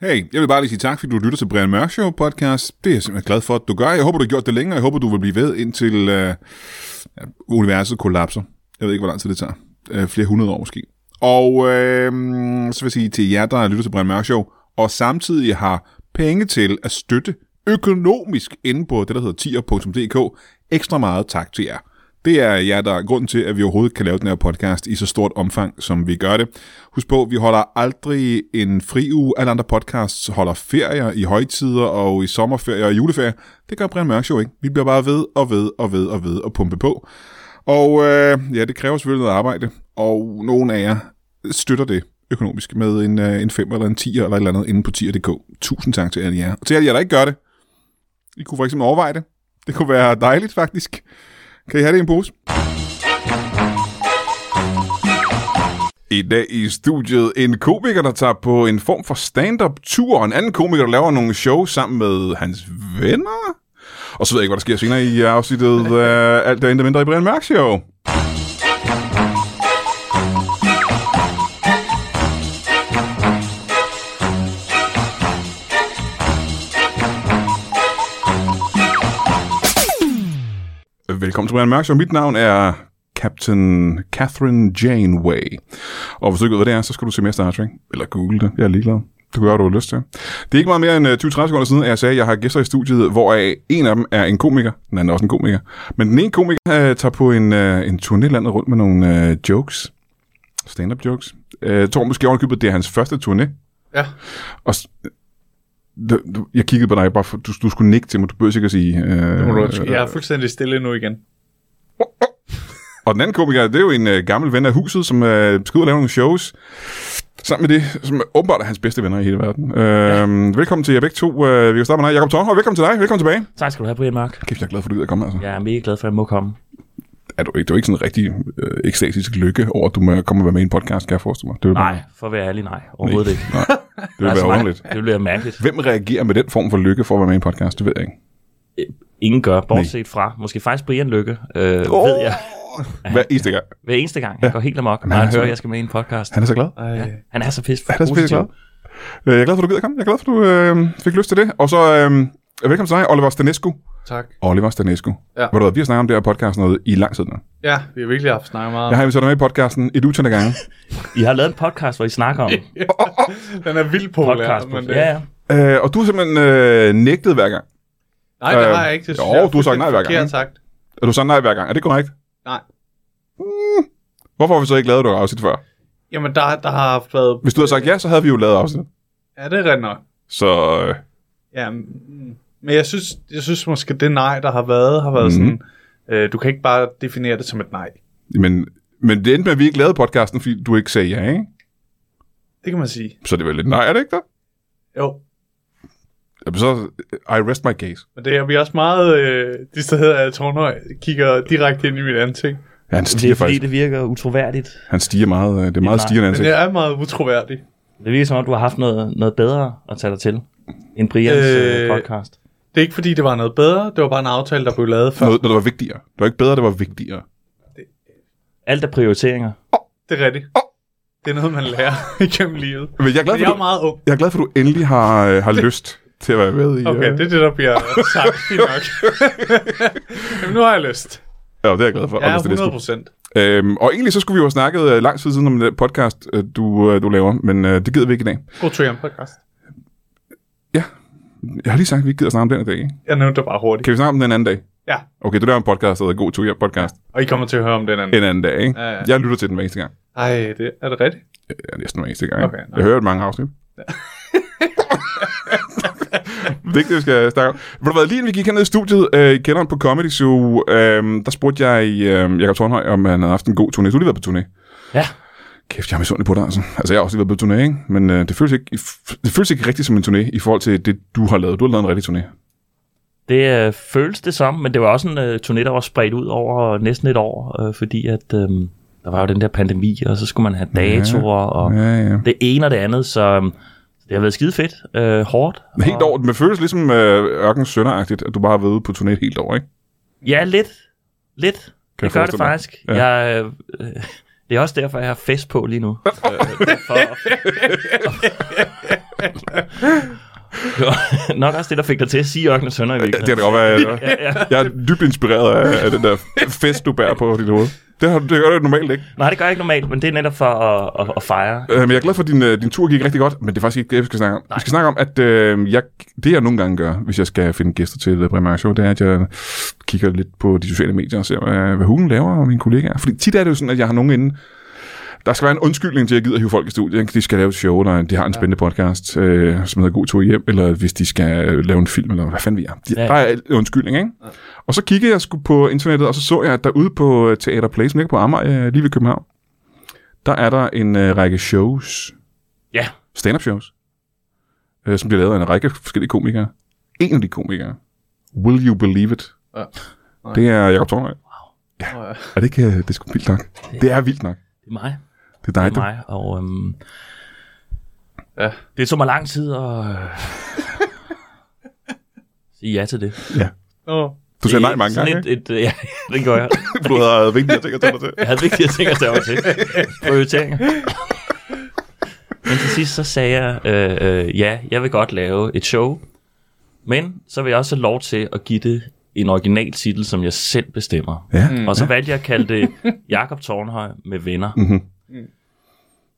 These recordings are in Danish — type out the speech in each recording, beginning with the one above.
Hey, jeg vil bare lige sige tak, fordi du lytter til Brian Mørk Show podcast. Det er jeg simpelthen glad for, at du gør. Jeg håber, du har gjort det længere. Jeg håber, du vil blive ved, indtil øh, universet kollapser. Jeg ved ikke, hvor lang tid det tager. Øh, flere hundrede år måske. Og øh, så vil jeg sige til jer, der lytter til Brian Mørk Show, og samtidig har penge til at støtte økonomisk inde på det, der hedder tier.dk. Ekstra meget tak til jer. Det er jer, der er grunden til, at vi overhovedet kan lave den her podcast i så stort omfang, som vi gør det. Husk på, vi holder aldrig en fri uge. Alle andre podcasts holder ferier i højtider og i sommerferier og juleferier. Det gør Brian Mørk Show ikke. Vi bliver bare ved og ved og ved og ved og pumpe på. Og øh, ja, det kræver selvfølgelig noget arbejde, og nogen af jer støtter det økonomisk med en, øh, en 5 eller en 10 eller et eller andet inde på tier.dk. Tusind tak til alle jer. Og til alle jer, der ikke gør det, I kunne for eksempel overveje det. Det kunne være dejligt faktisk. Kan I have det i en pose? I dag i studiet en komiker, der tager på en form for stand-up-tur, og en anden komiker, der laver nogle show sammen med hans venner. Og så ved jeg ikke, hvad der sker senere i afsnittet øh, Alt der intet mindre i Brian Mørk Show. Velkommen til Brian Mørk Show. Mit navn er Captain Catherine Janeway. Og hvis du ikke ved, hvad det er, så skal du se mere Star Trek. Eller google det. Jeg er ligeglad. Du kan gøre, hvad du har lyst til. Det er ikke meget mere end øh, 20-30 sekunder siden, at jeg sagde, at jeg har gæster i studiet, hvoraf en af dem er en komiker. Den anden er også en komiker. Men den ene komiker øh, tager på en, øh, en turné landet rundt med nogle øh, jokes. Stand-up jokes. Øh, jeg tror måske ovenikøbet, det er hans første turné. Ja. Og s- du, du, jeg kiggede på dig, bare for, du, du skulle nikke til mig. Du behøver sikkert sige... Øh, Må du undskylde. Jeg er fuldstændig stille nu igen. Og den anden komiker, det er jo en øh, gammel ven af huset, som øh, skal ud og lave nogle shows. Sammen med det, som åbenbart er hans bedste venner i hele verden. Øh, velkommen til jer begge to. Øh, vi kan starte med dig. Jakob Tornhøj, velkommen til dig. Velkommen tilbage. Tak skal du have, Brian Mark. Kæft, jeg er glad for, at du gider komme, altså. Ja. Jeg er mega glad for, at jeg må komme. Er du, ikke- det er jo ikke sådan en rigtig øh, ekstatisk lykke over, at du må komme og være med i en podcast, kan jeg forestille mig. Det vil Nej, for at være ærlig, nej. Overhovedet ikke. Nej, det vil Altså, være nej, underligt. Det bliver mærkeligt. Hvem reagerer med den form for lykke for at være med i en podcast? Det ved jeg ikke. Øh, Ingen gør, bortset fra. Måske faktisk Brian Lykke, øh, oh. ved jeg. Hver eneste gang. Hver eneste gang, han går helt amok, når han han er hører, så- at jeg skal med i en podcast. Han er så glad. Ej. Han er så pisse Han er så pisse positiv. glad. Øh, Jeg er glad for, at du gider komme. Jeg er glad for, at du øh, fik lyst til det. Og så øh, velkommen til dig, Oliver Stanescu. Tak. Oliver Stanescu. Ja. Ja. Ved du hvad, vi har snakket om det her podcast noget i lang tid nu. Ja, vi har virkelig haft snakket meget Jeg om. har inviteret dig med i podcasten et utal af gange. I har lavet en podcast, hvor I snakker om Den er vildt populær. podcast. men, Ja, ja. øh, og du har simpelthen øh, nægtet hver gang. Nej, det Øh, har jeg ikke. Det jo, synes jeg er du har sagt nej hver gang, fuldstændig forkert sagt. Er du sådan nej hver gang? Er det korrekt? Hmm. Nej. Hvorfor har vi så ikke lavet et afsnit før? Jamen, der, der har været... Hvis du havde sagt ja, så havde vi jo lavet afsnit. Ja, det er rigtigt nok. Så øh, Ja, mm. men jeg synes, jeg synes måske, det nej, der har været, har Mhm. været mm-hmm. sådan... Øh, du kan ikke bare definere det som et nej. men, men det endte med, at vi ikke lavede podcasten, fordi du ikke sagde ja, ikke? Det kan man sige. Så det var lidt nej, er det ikke det? Jo, Jamen så, øh, I rest my case. men det er vi også meget... Øh, de steder af Tornhøj kigger direkte ind i mit ansigt. Ja, han stiger Det er fordi, faktisk. det virker utroværdigt. Han stiger meget. øh, Det er meget nej. stigende Men ansigt. jeg er meget utroværdig. Det virker som om, du har haft noget, noget bedre at tage dig til end Brians øh. Øh. podcast. Det er ikke, fordi det var noget bedre. Det var bare en aftale, der blev lavet før. Noget, noget, der var vigtigere. Det var ikke bedre, det var vigtigere. Alt er prioriteringer. Det er rigtigt. Åh. Det er noget, man lærer igennem livet. Men jeg er glad Men for, jeg er du, meget ung. jeg er glad for, at du endelig har, øh, har lyst til at være med i... Okay, øh, det er det, der bliver sagt. Fint nok. Jamen, nu har jeg lyst. Ja, det er jeg glad for. Jeg er Anders Tedesco. 100 procent. Øhm, og egentlig så skulle vi jo have snakket øh, lang tid siden om den podcast, øh, du, øh, du laver, men øh, det gider vi ikke i dag. God tur hjem podcast. Jeg har lige sagt, at vi ikke gider snakke om den i dag. ikke? Jeg nævnte det bare hurtigt. Kan vi snakke om den en anden dag? Ja, Okay, du laver en podcast, der hedder God Tuja Podcast og I kommer til at høre om den anden. en anden dag, ikke? Ja, ja. Jeg lytter til den hver eneste gang. Ej, det, er det rigtigt? Ja, næsten hver eneste gang. ikke? Okay, nej. jeg hører et mange afsnit. det er ikke det, vi skal snakke om. Ved du hvad, lige inden vi gik herned i studiet, øh, i kælderen på Comedy Zoo, øh, der spurgte jeg øh, Jakob Tornhøj, om han havde haft en god turné. Du har lige været på turné. Ja. Kæft, jeg er misundelig på dig, altså. Altså, jeg har også lige været på turné, ikke? Men øh, det, føles ikke, det føles ikke rigtigt som en turné i forhold til det, du har lavet. Du har lavet en rigtig turné. Det øh, føles det som, men det var også en øh, turné, der var spredt ud over næsten et år, øh, fordi at øh, der var jo den der pandemi, og så skulle man have datoer og Ja, ja. det ene og det andet, så øh, det har været skide fedt, øh, hårdt. Helt over, men føles ligesom øh, Ørkens sønderagtigt, at du bare har været ude på turné et helt år, ikke? Ja, lidt. Lidt. Kan jeg det gør forestille det mig. faktisk. Ja. Ja. Jeg, øh, øh, det er også derfor, jeg har fest på lige nu. øh, for, Det var nok også det, der fik dig til at sige Ørken og Sønder i Det kan virkeligheden. da godt være, jeg, Ja, ja. jeg er dybt inspireret af, af den der fest, du bærer på dit hoved. Det, har, det gør du normalt ikke. Nej, det gør jeg ikke normalt, men det er netop for at, at, at fejre. Øh, men jeg er glad for, at din, øh, din tur gik rigtig godt, men det er faktisk ikke det, vi skal snakke om. Nej. Vi skal snakke om, at øh, jeg, det jeg nogle gange gør, hvis jeg skal finde gæster til øh, Bremer Show, det er, at jeg kigger lidt på de sociale medier og ser, hvad, hvad hun laver og mine kollegaer. Fordi tit er det jo sådan, at jeg har nogen inde, der skal være en undskyldning til, at jeg gider hive folk i studiet. ikke? De skal lave et show, eller de har en spændende podcast, øh, som hedder God tur hjem, eller hvis de skal øh, lave en film, eller hvad fanden vi er. De, Ja. Der er en undskyldning, ikke? Og så kiggede jeg sgu på internettet, og så så jeg, at derude på øh, Teater Play, som ligger på Amager, øh, lige ved København, der er der en øh, række shows, Ja, stand-up shows, øh, som bliver lavet af en række forskellige komikere. En af de komikere, Will You Believe It, Ja. Nej. det er Jacob Tornøj. Nå ja. Og det, kan, det er sgu vildt nok. Det er vildt nok. det er mig. Det er dig, Det du. er mig, og øhm, Ja. det tog mig lang tid at øh, sige ja til det. Nå. Du siger Det er nej mange sådan gange, Et, et, øh, ja, det gør jeg. ikke? For du havde vigtige ting at tage dig til. Jeg havde vigtige ting at tage mig til. Prioriteringer. Men til sidst så sagde jeg, øh, øh, ja, jeg vil godt lave et show, men så vil jeg også have lov til at give det en original titel, som jeg selv bestemmer. Mm-hmm. Ja. Og så valgte jeg at kalde det Jakob Tornhøj med venner. Mm-hmm.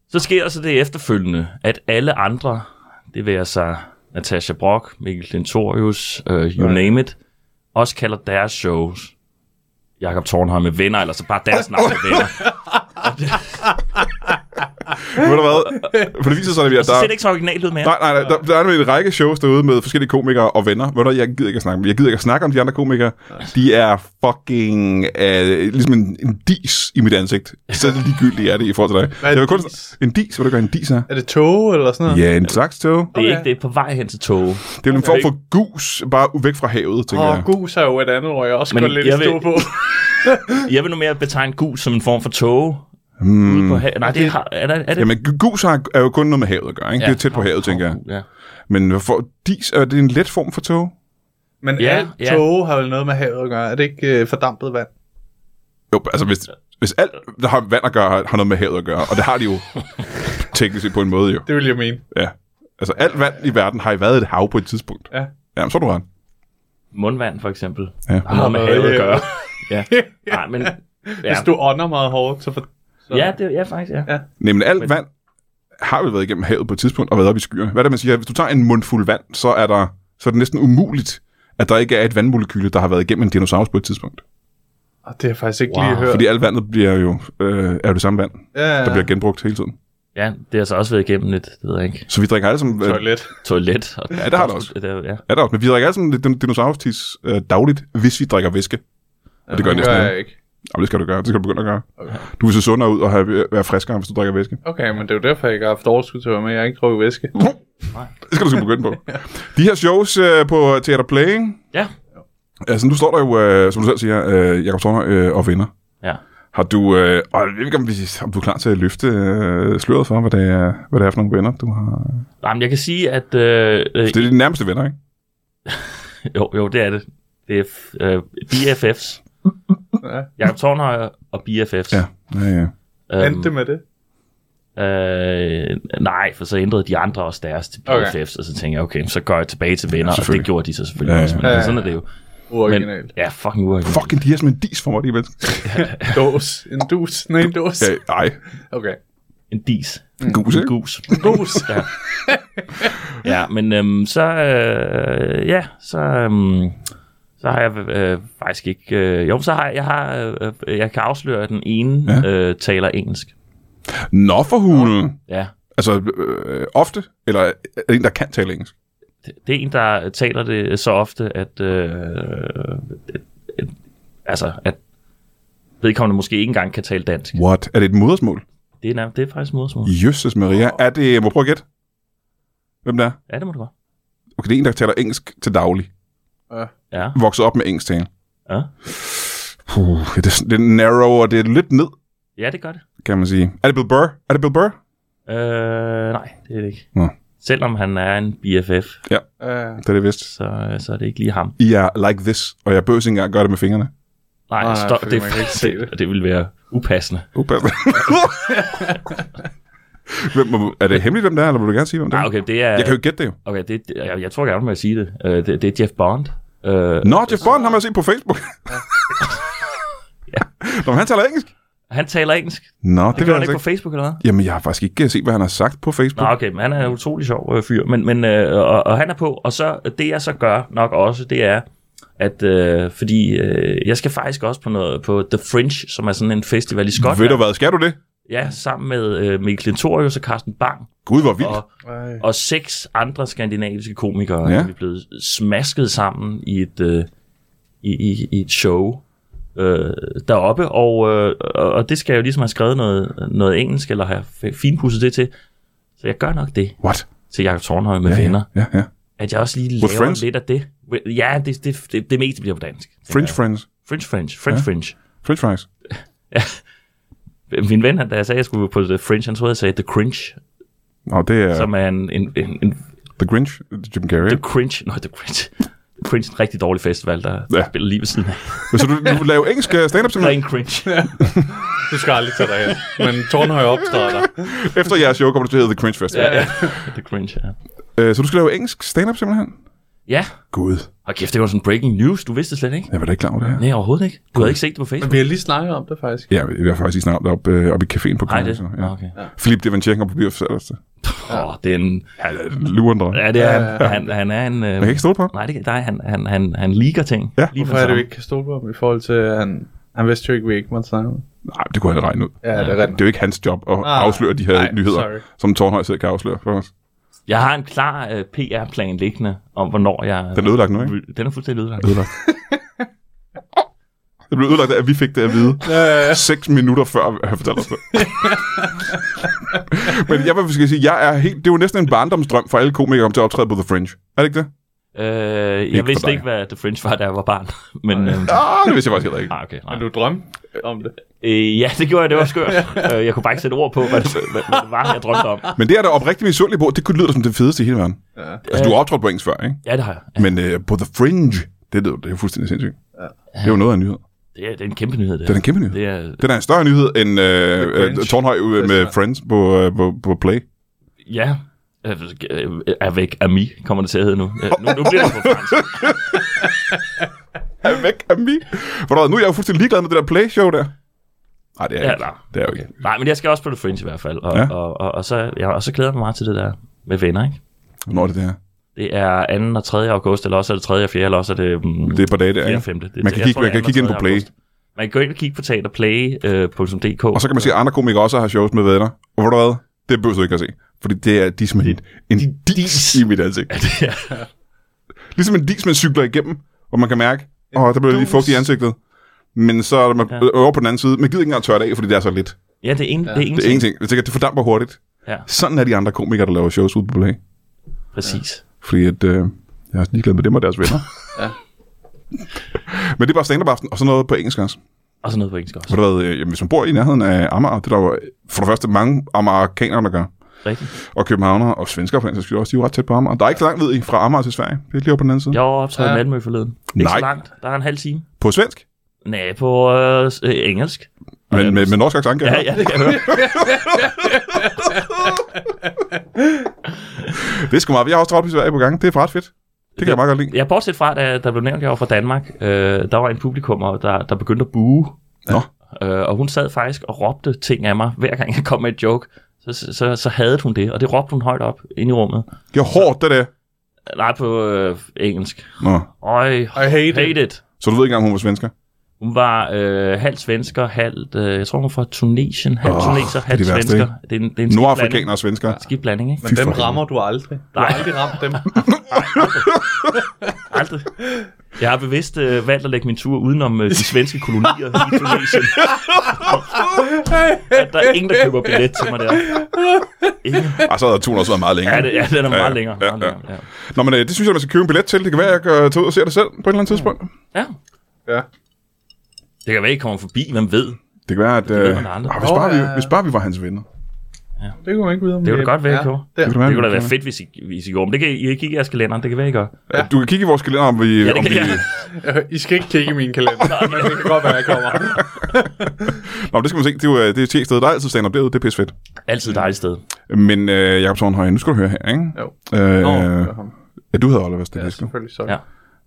Så sker så det efterfølgende, at alle andre, det vil altså Natasha Brock, Mikkel Dentorius, uh, you Ja. name it, også kalder deres shows Jakob Tornhøj med venner, eller så bare deres navn med venner. Ved du hvad? For det viser sig, at vi er Og så ser Altså, det der... ikke så originalt ud mere. Nej, nej, nej. Der, der er nemlig en række shows derude med forskellige komikere og venner. Ved du, hvad, jeg gider ikke at snakke om Jeg gider ikke at snakke om de andre komikere. De er fucking øh, ligesom en, en dis i mit ansigt. Så er det ligegyldigt, er det i forhold til dig. Hvad er jeg vil kun, en dis? en dis, hvad du gør en dis er. Er det tog eller sådan noget? Ja, en slags tog. Det er Okay. ikke det er på vej hen til toget. Det er jo en form for gus, bare væk fra havet, tænker Åh, jeg. gus er jo et andet ord, jeg også Men går lidt jeg i stå vil- på. Jeg vil nu mere betegne gus som en form for tog. Hmm. Ude på ha- Nej, det har, er, der, er det... Jamen, gu- gus har, er jo kun noget med havet at gøre, ikke? Det er tæt på havet, tænker jeg. Ja. Men for dis, er det en let form for tog? Men Ja, ja, alt ja. tog har vel noget med havet at gøre. Er det ikke øh, fordampet vand? Jo, altså hvis, hvis alt, der har vand at gøre, har har noget med havet at gøre, og det har de jo teknisk set på en måde jo. Det vil jeg mene. Ja. Altså alt vand i verden har jo været et hav på et tidspunkt. Ja. Jamen, så er du ret. Mundvand for eksempel. Ja. Har noget med Nå, havet ja. at gøre. ja. Nej, men... Ja, Hvis du ånder meget hårdt, så... For... så... ja, det, ja faktisk, ja. Nej, men alt vand har vel været igennem havet på et tidspunkt og været oppe i skyerne. Hvad er det, man siger? Hvis du tager en mundfuld vand, så er, der, så er det næsten umuligt, at der ikke er et vandmolekyle, der har været igennem en dinosaurus på et tidspunkt. Og det har jeg faktisk ikke Wow. wow. lige hørt. Fordi alt vandet bliver jo, øh, er jo det samme vand, der ja, ja. bliver genbrugt hele tiden. Ja, det har så også været igennem et, det ved jeg ikke, Så vi drikker alle sammen, øh, toilet. toilet. Og Ja, det har det også. Det, er- ja. er der også, men vi drikker alle sammen lidt dinosaurus øh, dagligt, hvis vi drikker væske. Og det gør næsten alle. jeg ikke. Jamen, det skal du gøre. Det skal du begynde at gøre. Okay. Du vil se sundere ud og have, være friskere, hvis du drikker væske. Okay, men det er jo derfor, jeg ikke har haft overskud til at være med. Jeg har ikke drukket væske. Det skal du sgu begynde på. De her shows øh, på Theater Play, ikke? ja. altså nu står der jo, øh, som du selv siger, øh, Jakob Torner øh, og venner. Ja. Har du, øh, og jeg ved ikke, om, vi, om du er klar til at løfte øh, sløret for, hvad det, er, hvad det er for nogle venner, du har? Nej, men jeg kan sige, at... Øh, øh, Det er dine nærmeste venner, ikke? jo, jo, det er det. Det er f- øh, BFFs. Ja. Jakob Tornhøj og BFFs. Ja, ja, ja. Øhm, Endte det med det? Øh, nej, for så ændrede de andre også deres til BFFs, Okay. okay. og så tænkte jeg, okay, så går jeg tilbage til venner, og det selvfølgelig. gjorde de så selvfølgelig Ja, ja, ja. ja. også, men Ja, ja. sådan er det jo. Uoriginalt. Men, ja, fucking uoriginalt. Fucking, de er som en dis for mig, de mennesker. Dås. En dus. Nej, en dås. Ja, nej, Okay. En dis. en gus, En ikke? gus. Dus. Ja. ja, men øhm, så, øh, ja, så, øhm, så har jeg øh, faktisk ikke, øh, jo, så har jeg, jeg, har, øh, øh, jeg kan afsløre, at den ene Ja. ja. øh, taler engelsk. Nå for hulen. Ja, Altså, øh, ofte? Eller er det en, der kan tale engelsk? det, det er en, der taler det så ofte, at, øh, at, at altså, at vedkommende måske ikke engang kan tale dansk. What? Er det et modersmål? Det er, nærmest, det er faktisk modersmål. Jøsses Maria. Er det, må jeg prøve at gætte? Hvem det er? Ja, det må du godt. Okay, det er en, der taler engelsk til daglig. Ja. Ja, Vokset op med engelsk tale. ja. Puh, det er, sådan- det er narrow, og det er lidt ned, ja det gør det. kan man sige. Er det Bill Burr? Er det Bill Burr? Øh, nej, det er det ikke. Nå. Selvom han er en BFF, Uh, Det er det vist. så, så er det ikke lige ham. I er like this, og jeg behøver ikke engang gøre det med fingrene. Nej, Nej, Nej stop, fordi det, man kan ikke se det, det ville være upassende. Upas. Hvem, må- er det hemmeligt, hvem det er, eller vil du gerne sige, hvem det er? Nej, Ah, okay, det er... Jeg kan jo ikke gætte det jo. Okay, det, det- jeg, jeg tror gerne, må jeg sige det. Øh, det. Det er Jeff Bond. Øh, Nå, Jeff Bond har man set på Facebook. Ja. Nå, men han taler engelsk. Han taler engelsk. Nå, det, Det det ved gør han jeg ikke altså på ikke. Facebook eller hvad? Jamen, jeg har faktisk ikke set, hvad han har sagt på Facebook. Nå, okay, men han er en utrolig sjov øh, fyr. Men, men, øh, og, og han er på, og så det jeg så gør nok også, det er, at øh, fordi øh, jeg skal faktisk også på noget på The Fringe, som er sådan en festival i Ved du Skotland. hvad, skal du det? Ja, sammen med øh, Mikkel Klintorius og Carsten Bang Gud, hvor vildt. og, og seks andre skandinaviske komikere Ja. ja. er vi blevet smasket sammen i et, øh, i, i, i et show øh, deroppe, og, øh, og og det skal jeg jo ligesom have skrevet noget, noget engelsk, eller have f- finpudset det til. Så jeg gør nok det What? til Jakob Tornhøj med ja, ja, venner, ja, ja. at jeg også lige With laver friends? lidt af det. Ja, det, det, det, det meste bliver på dansk. French friends. French French, French ja. French. French fries. Min ven, han, da jeg sagde, at jeg skulle på The Fringe, han troede, jeg sagde The Cringe, Nå, det er ja. som er en, en, en, en The Grinch, Jim Carrey. The Cringe, nej, The Cringe. The Cringe er en rigtig dårlig festival, der Ja. ja. spiller lige ved siden af. Så du, du laver engelsk øh, stand-up simpelthen? Ren Cringe. Du skal aldrig tage dig hen. Men Tornhøj optræder dig. Efter jeres show kommer du til at hedde The Cringe Festival. ja. The Cringe, ja. Øh, Så du skal lave engelsk stand-up simpelthen? Ja, Gud, og kæft, det var sådan breaking news, du vidste det slet ikke. jeg var da ikke klar over det her. Nej, overhovedet ikke. Du havde ikke set det på Men Facebook. vi har lige snakket om det, faktisk. Ja, vi har faktisk lige snart op, øh, op i caféen på Nej, København. det... så, Nå, Okay. Åh, Philip Devanchenko på Biof Sætters. oh, det er en... Lurendre. Ja, det er Ja, han. Han, han er en... Jeg kan Øh... ikke stole på ham. Nej, det, nej, han, han, han, han liker ting. Ja. Lige Hvorfor er det, vi ikke kan stole på ham i forhold til, at han, han vidste jo ikke, vi ikke måtte snakke om det. Nej, det kunne han regne ud. Ja, det er Det er jo ikke hans job at Ah, afsløre de her nej, nyheder, sorry. som Tornhøj selv kan afsløre for os. Jeg har en klar øh, PR-plan liggende om, hvornår jeg... Den er ødelagt nu, ikke? Den er fuldstændig ødelagt. Ødelagt. Det blev ødelagt af, at vi fik det at vide. rigtigt. seks minutter før han fortalte os det. Men jeg vil faktisk sige, jeg er helt, det er jo næsten en barndomsdrøm for alle komikere om til at optræde på The Fringe. Er det ikke det? Øh, Ikke jeg for vidste dig. ikke, hvad The Fringe var, da jeg var barn. Men... Øh, Ah, det vidste jeg faktisk heller ikke. ah, okay, nej. Men du drømte om det. Øh, ja, det gjorde jeg. Det var skørt. øh, jeg kunne bare ikke sætte ord på, hvad det, hvad, hvad det var, jeg drømte om. Men det er der oprigtigt misundelig på, det kunne lyde som det fedeste i hele verden. Ja. Altså, du har optrådt på engelsk før, ikke? Ja, det har jeg. Men øh, på The Fringe, det, lyder- det er jo fuldstændig sindssygt. Det er jo noget af en nyhed. Det er, det er en kæmpe nyhed, det Det er her. en kæmpe nyhed. Det er, Det er da en større nyhed end øh, øh, Fringe. Tornhøj øh, med Friends på, øh, på, på Play. ja. Øh, Avec Ami kommer det til at hedde nu. Øh, Nu, nu bliver det på fransk. Er væk af mig. For der, nu er jeg jo fuldstændig ligeglad med det der Play-show der. Nej, det er jeg Ja, ikke. nej. Det er jeg jo ikke. nej, men jeg skal også på The Fringe i hvert fald. Og, Ja. ja. og, og, og, så, ja, og så glæder jeg mig meget til det der med venner, ikke? Hvornår er det det her? Det er 2. og 3. august, eller også er det 3. og 4. eller også er det... Um, Det er på dage der, 4. ikke? og 5. Det, Man kan jeg kigge- tror, man det er kan kigge ind 2. på Play. august. Man kan gå ind og kigge på øh, teaterplay.dk. Og så kan man se, at andre komikere også har shows med venner. Og hvor du hvad? Det behøver du ikke at se. Fordi det er, de er som en, en dis, dis. i mit ansigt. Ligesom en dis, man cykler igennem, hvor man kan mærke, åh, oh, der bliver lige dus. fugt i ansigtet. Men så er man ja. Ja. over på den anden side. Man gider ikke engang tørre det af, fordi det er så lidt. Ja, det er, en, ja. det er Det er ingenting. Jeg tænker, det fordamper hurtigt. Ja. Sådan er de andre komikere, der laver shows ude på play. Præcis. Fordi at, øh, jeg er også ligeglad med dem og deres venner. Ja. Men det er bare stand aften og sådan noget på engelsk også. Og så noget på engelsk også. Ved du hvad, øh, jamen, hvis man bor i nærheden af Amager, det er der jo øh, for det første mange amerikanere, der gør. Rigtigt. Og københavnere og svenskere for den sags skyld også, de er jo ret tæt på Amager. Der er ikke så langt, ved I, fra Amager til Sverige. Det er lige over på den anden side. Jeg var optaget i Ja. Malmø forleden. Ikke Nej. så langt. Der er en halv time. På svensk, Nej, på øh, øh, engelsk. men ja, med, med norsk accent, kan jeg Ja, høre. ja, det kan jeg høre. Det er sgu meget. Jeg har også travlt i Sverige på gang. Det er ret fedt. Det kan jeg meget godt lide. Ja, bortset fra, da der blev nævnt, jeg var fra Danmark, øh, der var en publikummer, der, der begyndte at buge. Nå. Øh, og hun sad faktisk og råbte ting af mig, hver gang jeg kom med et joke. Så, så, så, så havde hun det, og det råbte hun højt op ind i rummet. Det er hårdt, det der. Nej, på øh, engelsk. Nå. Øj, I hate it. it. Så du ved ikke engang, hun var svensker? Hun var øh, halv svensker, halv... Øh, jeg tror, hun var fra Tunesien. Halv Åh, oh, tuneser, det er halv det værste, svensker. Det er en, det er en skidt blanding. Nordafrikanere og svensker. Skidt blanding, ikke? Men Fy dem for helvede. rammer du aldrig. Du har Nej. aldrig ramt dem. Aldrig. Jeg har bevidst øh, valgt at lægge min tur udenom øh, de svenske kolonier i Tunesien. at der er ingen, der køber billet til mig der. Ingen. Og Ah, så havde 200 også været meget længere. Ja, det, ja, den er Ja, meget ja, længere. ja, Meget ja. længere ja. Nå, men øh, det synes jeg, man skal købe en billet til. Det kan være, jeg øh, tager ud og ser det selv på et eller andet tidspunkt. ja, Ja. det kan være, I kommer forbi, hvem ved. Det kan være, at... Øh, ved man aldrig. ah, hvis, bare Nå, vi, ja, ja. hvis bare vi var hans venner. Det kunne man ikke vide om Det kunne da godt være, I gjorde. Der. Ved du hvad? Det kunne da være fedt, hvis I, hvis I gjorde. Men det kan I, I kan kigge i jeres kalender. Det kan være, I gør. Ja. Du kan kigge i vores kalender, om vi... det om kan vi... jeg. I skal ikke kigge i min kalender, men det kan godt være, jeg kommer. Nå, men det skal man se. Det er jo øh, det er stedet, der er altid stand-up derude. Det er pisse fedt. Altid dejligt sted. Men øh, Jacob Sørenhøj, nu skal du høre her, ikke? Jo. Øh, Nå, Nå, ham. ja, du hedder Oliver Ja, Stavisco. selvfølgelig. Sorry. Ja.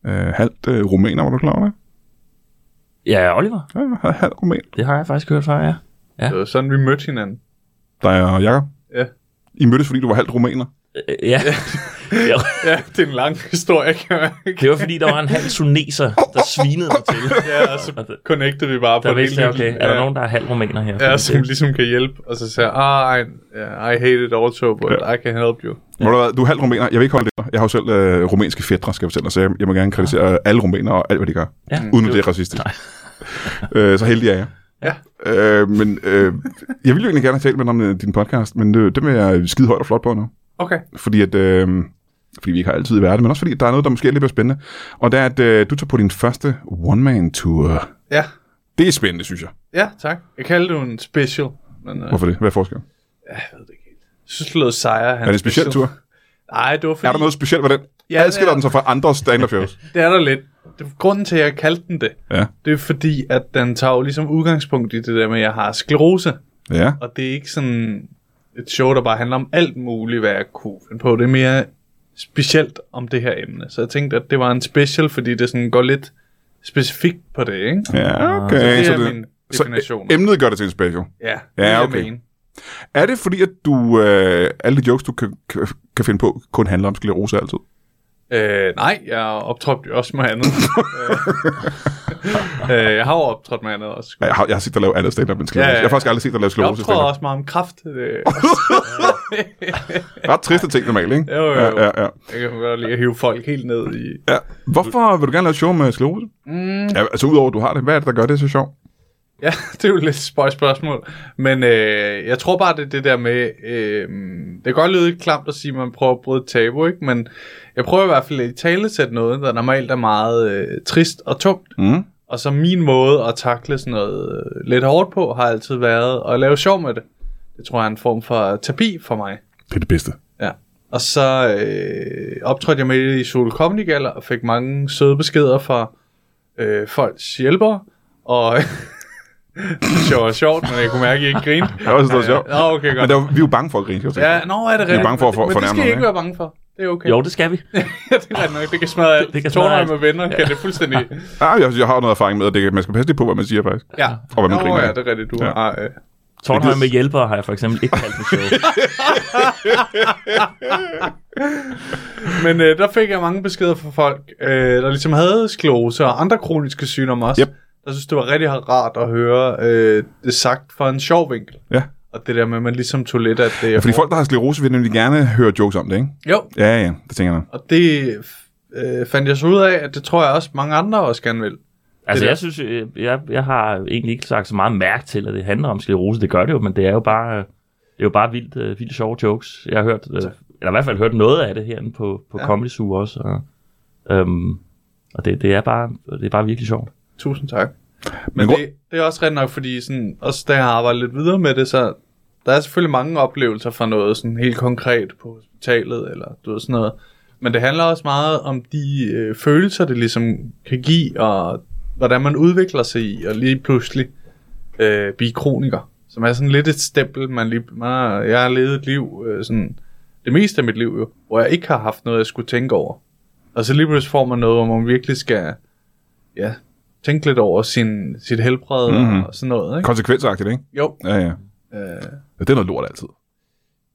Ja. øh, halvt øh, rumæner, var du klar over det? Ja, Oliver. Ja, hal- halvt rumæner. Det har jeg faktisk hørt før, ja. Det var sådan, vi mødte hinanden. Der er Jacob. Ja. I mødtes, fordi du var halvt rumæner. Øh, Ja. ja. Ja, det er en lang historie, kan man ikke? Det var fordi, der var en halv tuneser, der svinede mig til. Ja, og så connectede vi bare på Der det vidste jeg, okay, er der ja. nogen, der er halv rumæner her? Ja, Fordi som ligesom kan hjælpe, og så siger jeg, ah, I, yeah, I hate it also, but I can help you. Ja. Du, hvad, du er halvt rumæner. Jeg vil ikke holde det. Jeg har jo selv øh, rumænske fætre, skal jeg fortælle dig, så jeg, jeg må gerne kritisere Ah. ja. alle rumænere og alt, hvad de gør. Ja. Uden at det er racistisk. øh, så heldig er jeg. Ja. Øh, men øh, jeg ville jo egentlig gerne have talt med dig om øh, din podcast, men øh, det vil jeg skide højt og flot på nu. Okay. fordi at... Øh, fordi vi ikke har altid i verden, men også fordi, der er noget, der måske er lidt mere spændende. Og det er, at øh, du tager på din første one-man-tour. Ja, Det er spændende, synes jeg. ja, tak. Jeg kalder det en special, men øh, Hvorfor det? Hvad er forskellen? ja, jeg ved det ikke helt. Jeg synes, Lød Sejr, han Er det en speciel tur? Nej, det var fordi, Er der noget specielt ved den? Ja, Ja, Adskiller det er- den sig fra andre stand-up shows? det er der lidt. Det, grunden til, at jeg kaldte den det, Ja. det er fordi, at den tager jo ligesom udgangspunkt i det der med, at jeg har sklerose. Ja. Og det er ikke sådan et show, der bare handler om alt muligt, hvad jeg kunne finde på. Det er mere specielt om det her emne. Så jeg tænkte, at det var en special, fordi det sådan går lidt specifikt på det, ikke? Ja, okay. Ah, Så det så er det- min så øh, definition. emnet gør det til en special. Ja, Ja, det er okay. Jeg mene. Er det fordi, at du, øh, alle de jokes, du kan, kan- kan finde på, kun handler om sklerose altid? Øh, nej, jeg optrådte jo også med andet. øh, øh, jeg har jo optrådt med andet også. Ja, Jeg har, jeg har set dig lave andet stand-up end sklerose. Ja, Ja, ja, ja, ja. Jeg har faktisk aldrig set dig lave Jeg sklerose optråder stand-up. også meget om kraft. Øh, Ret triste ting normalt, ikke? Jo, jo, jo. Ja, ja, ja. jeg kan godt lide at hive folk helt ned i... Ja. Hvorfor vil du gerne lave et show med sklerose? Mm. Ja, altså udover, at du har det. Hvad er det, der gør det så sjovt? Ja, det er jo et lidt spøjt spørgsmål. Men øh, jeg tror bare, det er det der med... Øh, det kan godt lyde lidt klamt at sige, at man prøver at bryde et tabu, ikke? Men jeg prøver i hvert fald at talesætte noget, der normalt er meget øh, trist og tungt. Mm. Og så min måde at takle sådan noget øh, lidt hårdt på, har altid været at lave sjov med det. Det tror jeg er en form for terapi for mig. Det er det bedste. Ja. Og så øh, optrådte jeg med det i Solo Comedy Gala og fik mange søde beskeder fra øh, folks hjælpere. Og det var sjovt, men jeg kunne mærke, at I ikke grinte. Jeg har også stået sjovt. Nå, okay, Men godt. der, var- vi er jo bange for at grine, skal jeg tænke. Ja, nå, er det rigtigt. bange for at for- men, det fornærme skal I nogen, ikke ikke? være bange for. Det er okay. Jo, det skal vi. det er rigtigt nok. Det kan smadre alt. Det Det kan kan smadre alt. med venner, ja. kan det fuldstændig... Ah, jeg, jeg har noget erfaring med, at det, man skal passe lidt på, hvad man siger faktisk. Ja. Og hvad man Nå, griner af. ja, det er rigtigt. Du Ja. har... Øh, Tornhøj med hjælpere har jeg for eksempel ikke kaldt på show. Men øh, der fik jeg mange beskeder fra folk, øh, der ligesom havde sklerose og andre kroniske sygdomme også. Yep. Der synes, det var rigtig rart at høre øh, det sagt fra en sjov vinkel. Ja. Og det der med, at man ligesom tog lidt af det. Ja, Fordi folk, der har sklerose, vil nemlig gerne høre jokes om det, ikke? Jo, Ja, ja, det tænker jeg nok. og det øh, fandt jeg så ud af, at det tror jeg også mange andre også gerne vil. Altså, Det er- jeg synes, øh, jeg, jeg har egentlig ikke sagt så meget mærke til, at det handler om sklerose. Det gør det jo, men det er jo bare, øh, det er jo bare vildt, øh, vildt sjove jokes. Jeg har hørt, øh, eller i hvert fald hørt noget af det herinde på, på ja. Ja. Comedy Zoo også. Og, øhm, og det, det, er bare, det er bare virkelig sjovt. Tusind tak. Men Men grund- det, det er også ret nok, fordi sådan, også da jeg har arbejdet lidt videre med det, så der er selvfølgelig mange oplevelser fra noget sådan helt konkret på hospitalet, eller du ved, sådan noget. Men det handler også meget om de øh, følelser, det ligesom kan give, og hvordan man udvikler sig i, og lige pludselig øh, blive kroniker, som er sådan lidt et stempel, man lige, man har, jeg har levet et liv, øh, sådan, det meste af mit liv jo, hvor jeg ikke har haft noget, jeg skulle tænke over. Og så lige pludselig får man noget, hvor man virkelig skal, ja, tænke lidt over sin, sit helbred Mhm. mm-hmm. og sådan noget, ikke? Konsekvensagtigt, ikke? Jo, Ja, ja. øh, Ja, Det er noget lort altid.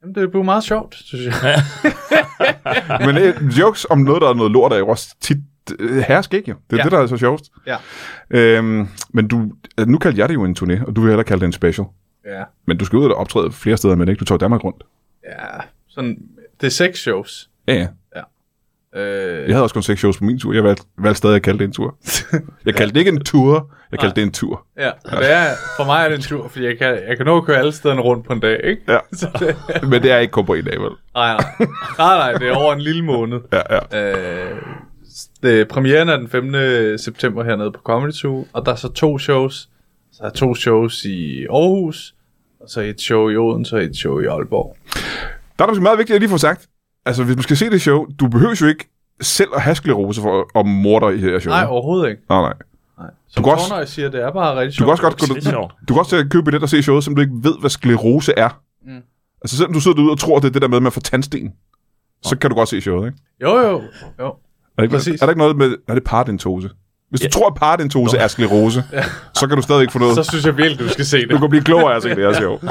jamen, det blev meget sjovt, synes jeg. Men øh, jokes om noget, der er noget lort, er jo også tit øh, hersk, ikke? jo? Det er ja. Ja. det, der er så sjovest. Ja. Øhm, men du, altså, nu kaldte jeg det jo en turné, og du vil heller kalde det en special. ja. Men du skal ud og optræde flere steder med det, ikke? Du tager Danmark rundt. ja, sådan, det er seks shows. Ja, ja. Øh, Jeg havde også kun seks shows på min tur. Jeg valgte, valgte stadig at kalde det en tur. Jeg kaldte det ikke en tur, jeg kaldte det en tur. ja, og det er, for mig er det en tur, fordi jeg kan, jeg kan nå at køre alle stederne rundt på en dag, ikke? Ja. Så det, Men det er ikke kun på en dag, vel? nej, nej. nej, nej, det er over en lille måned. Ja, ja. Øh, det, premieren er den 5. september hernede på Comedy Zoo, og der er så to shows. Så er to shows i Aarhus, Og så et show i Odense og et show i Aalborg. Der er det måske meget vigtigt, at jeg lige får sagt. Altså, hvis man skal se det show, du behøver jo ikke selv at have sklerose for at morde dig i det her show. Nej, overhovedet ikke. nej, nej. Nej. Som kan også- Tornøj siger, det er bare rigtig Du sjovt. kan også godt gå Det er sjovt. du kan også tage- købe billet og se showet, som du ikke ved, hvad sklerose er. Mm. Altså, selvom du sidder derude og tror, det er det der med, at man får tandsten, så kan du godt se showet, ikke? Jo, jo, jo. Er der ikke, Præcis. er der ikke noget med... Er det paradentose? Hvis du Ja. tror, at paradentose er sklerose, så kan du stadig ikke få noget... Så synes jeg virkelig, du skal se det. Du kan blive klogere af at se det her show.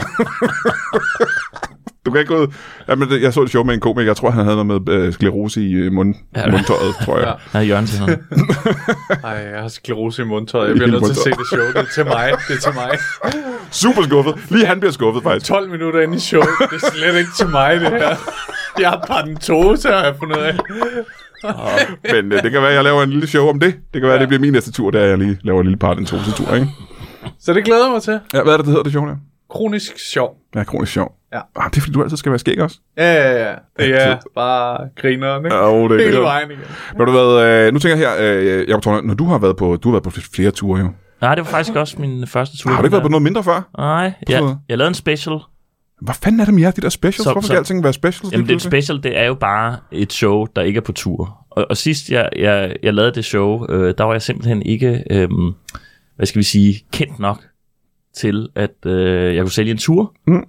du kan ikke gå ud... Jamen, det- jeg så et show med en komiker. Jeg tror, han havde noget med øh, sklerose i øh, mund, Ja. mundtøjet, tror jeg. Nej, Jørgen til noget. Ej, jeg har sklerose i mundtøjet. Jeg bliver nødt til at se det show. Det er til mig. Det er til mig. Super skuffet. Lige han bliver skuffet, faktisk. 12 minutter ind i showet. Det er slet ikke til mig, det her. Jeg har parentose, har jeg fundet ud af. Men øh, det kan være, at jeg laver en lille show om det. Det kan være, at det bliver min næste tur, der jeg lige laver en lille paradentose-tur, ikke? Så det glæder jeg mig til. Ja, hvad er det, det hedder det show der? Kronisk sjov. Ja, kronisk sjov. Ja. Ah, det er fordi, du altid skal være skæg også. Ja, ja, ja. Det er bare grineren, ikke? Ja, jo, det er Hele grineren. vejen igen. Men du hvad, øh, nu tænker jeg her, øh, Jacob Torne, når du har været på, du har været på flere ture jo. Nej, det var faktisk også min første tur. Har du ikke været på noget mindre før? Nej, jeg, noget? jeg lavede en special. Hvad fanden er det med jer, de der specials? Så- Hvorfor så- skal alting være specials? Jamen, det lige er et pludselig? special, det er jo bare et show, der ikke er på tur. Og, og sidst jeg, jeg, jeg lavede det show, øh, der var jeg simpelthen ikke, øh, hvad skal vi sige, kendt nok til, at øh, jeg kunne sælge en tur. Mm.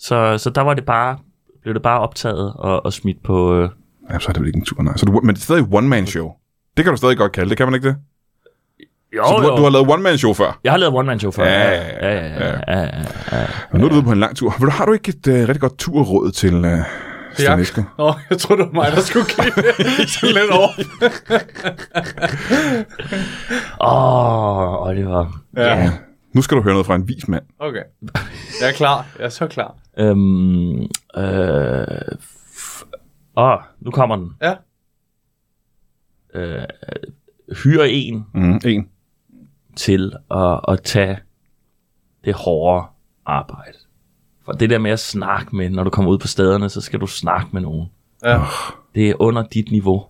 Så, så der var det bare, blev det bare optaget og, og smidt på... Øh, Jamen, så er det vel ikke en tur, nej. Så du, men det er stadig one-man-show. Det kan du stadig godt kalde det, kan man ikke det? jo, så du, du har lavet one-man-show før. Jeg har lavet one-man-show før. Ja, ja, ja, ja, ja, ja. Men nu er du ude på en lang tur. Men har du ikke et øh, rigtig godt turråd til øh, Stan Eske? Nå, jeg troede, det var mig, der skulle kigge sådan lidt over. Åh, Oliver. Ja. Nu skal du høre noget fra en vis mand. Okay. Jeg er klar. Jeg er så klar. Øhm, øh, f- åh, nu kommer den. Ja. Øh, hyr en Mm, en. til at, at tage det hårde arbejde. For det der med at snakke med, når du kommer ud på stederne, så skal du snakke med nogen. Ja. Det er under dit niveau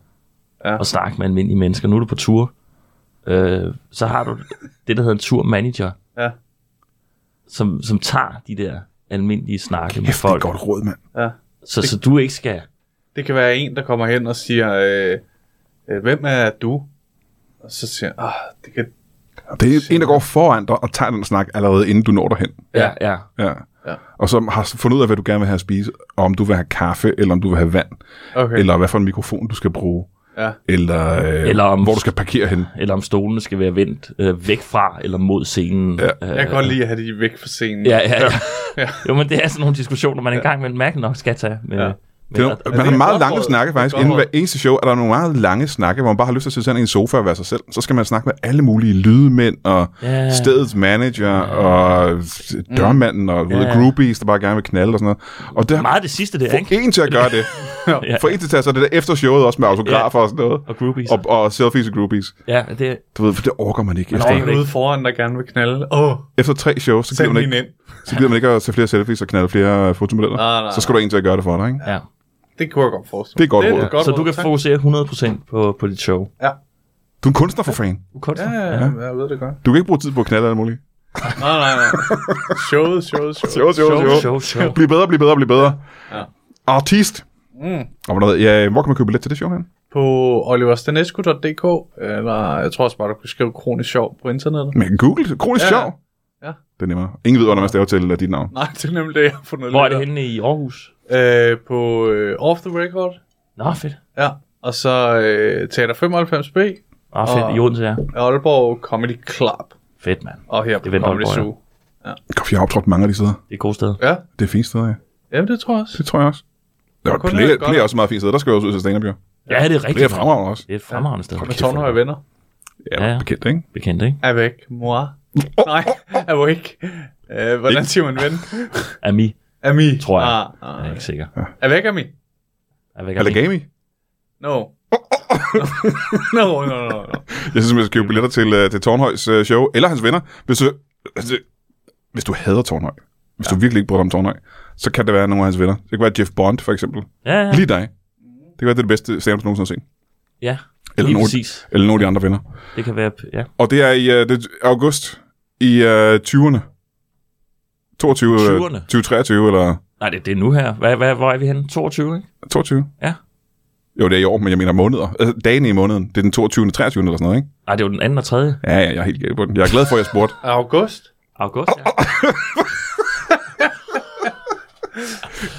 Ja. at snakke med almindelige mennesker. Nu er du på tur. Øh, så har du det, der hedder en turmanager, Ja. som, som tager de der almindelige snakke med Kæft, det er folk. et godt råd, mand. ja. Så, så du ikke skal... Det kan være en, der kommer hen og siger, øh, øh, hvem er du? Og så siger han, "Ah, det kan... Det er en, der går foran dig og tager den snak allerede, inden du når derhen. Ja, ja. Ja. Ja. Og så har fundet ud af, hvad du gerne vil have at spise, og om du vil have kaffe, eller om du vil have vand, Okay. eller hvad for en mikrofon du skal bruge, Ja. eller, øh, Eller om- hvor du skal parkere henne. Eller om stolene skal være vendt øh, væk fra eller mod scenen. Ja. Øh, Jeg kan godt lide at have de væk fra scenen. Ja, ja, ja. Ja. Jo, men det er sådan nogle diskussioner, man engang med mærke nok skal tage. øh, Med, Ja. ja. med, Det er, at- man har et meget godt lange råd? snakke Det er et faktisk. godt Inden hver råd. eneste show er der nogle meget lange snakke, hvor man bare har lyst til at sidde sådan i en sofa og være sig selv. Så skal man snakke med alle mulige lydmænd og Ja. stedets manager og dørmanden og yeah. Ja. groupies, der bare gerne vil knalde og sådan noget. Og det har meget det sidste der, ikke? få en til at gøre det. Ja. Få en til at tage sig det der efter showet også med autografer og sådan noget. Og groupies. Og, og selfies og groupies. Ja, det, Du ved, for det orker man ikke. Man Efter, orker- En ude foran, der gerne vil knalde. Åh, oh, efter tre shows, så gider, send man hende ikke, ind. så gider man ikke at tage flere selfies og knalde flere øh, fotomodeller. Nej, nej, så skal du have en til at gøre det for dig, ikke? ja. Det kunne jeg godt forestille Det er et godt mig. råd. et godt så du råd, kan tak. fokusere 100% på, på dit show. Ja. Du er en kunstner for fan. Kunstner. Ja, ja, ja, jeg ved det godt. Du kan ikke bruge tid på at knalde alt muligt. Nej, nej, nej. Showet, showet, showet. Jo, jo, Show, jo. show, show. Bliv bedre, bliv bedre, bliv bedre. Ja. Artist. Mm. Og hvad der hedder- ja, hvor kan man købe billet til det show her? På oliverstanescu.dk, Øh, eller jeg tror også bare, du kan skrive kronisk sjov på internettet. Man kan google det. Kronisk Ja. sjov. Ja. Det er nemmere. Ingen ved, hvordan man staver til øh, dit navn. Nej, det er nemlig det, jeg har fundet Hvor er lidt det af. henne i Aarhus? Øh, på øh, Off The Record, Nå, fedt. ja. Og så øh, Teater 95B, Nå, fedt. Og- I Odense, ja. Aalborg Comedy Club, Fedt, mand. og her på Det er ved Comedy Aalborg, ja. Zoo. Godt, Jeg har optrådt mange af de steder. Det er et godt sted. Ja, Det er fint steder, ja. jamen det tror jeg også. Det tror jeg også. Det var kun play, er det godt. play er også et meget fint sted. Der skal jeg også ud til Stængerbjerg. Ja, det er Play rigtigt. er fremragende også. Det er et fremragende sted. Med Tornhøj Venner. Ja, Ja, ja. bekendt, ikke? Bekendt, ikke? Avec moi. Nej, avec. Øh, hvordan siger man ven? Ami, Ami. Tror jeg. Ah, jeg er ah. ikke sikker. Avec ami. Er væk, Eller Ami. Gami. No. no, no, no, no. Jeg synes, man skal købe billetter til, øh, til Tornhøjs øh, show, eller hans venner. Hvis du, altså, hvis du hader Tornhøj, hvis ja. du virkelig ikke bryder dig om Tornhøj, så kan det være nogle af hans venner. Det kan være Jeff Bond, for eksempel. Ja, ja. Lige dig. Det kan være det, er det bedste stand du nogensinde har set. ja. Eller Lige nogen- præcis. Eller nogle af de andre venner. Det kan være, ja. Og det er i øh, det er august i øh, 20'erne. 22, Tyverne. 2023 eller Nej, det, det er nu her. Hvad, hvad, hvor er vi henne? 22, ikke? 22? Ja. Jo, det er i år, men jeg mener måneder. Altså, dagene i måneden. Det er den 22. 23. eller sådan noget, ikke? Nej, det var den anden og tredje. Ja, ja, jeg er helt galt på den. Jeg er glad for, at jeg spurgte. August? August, ja.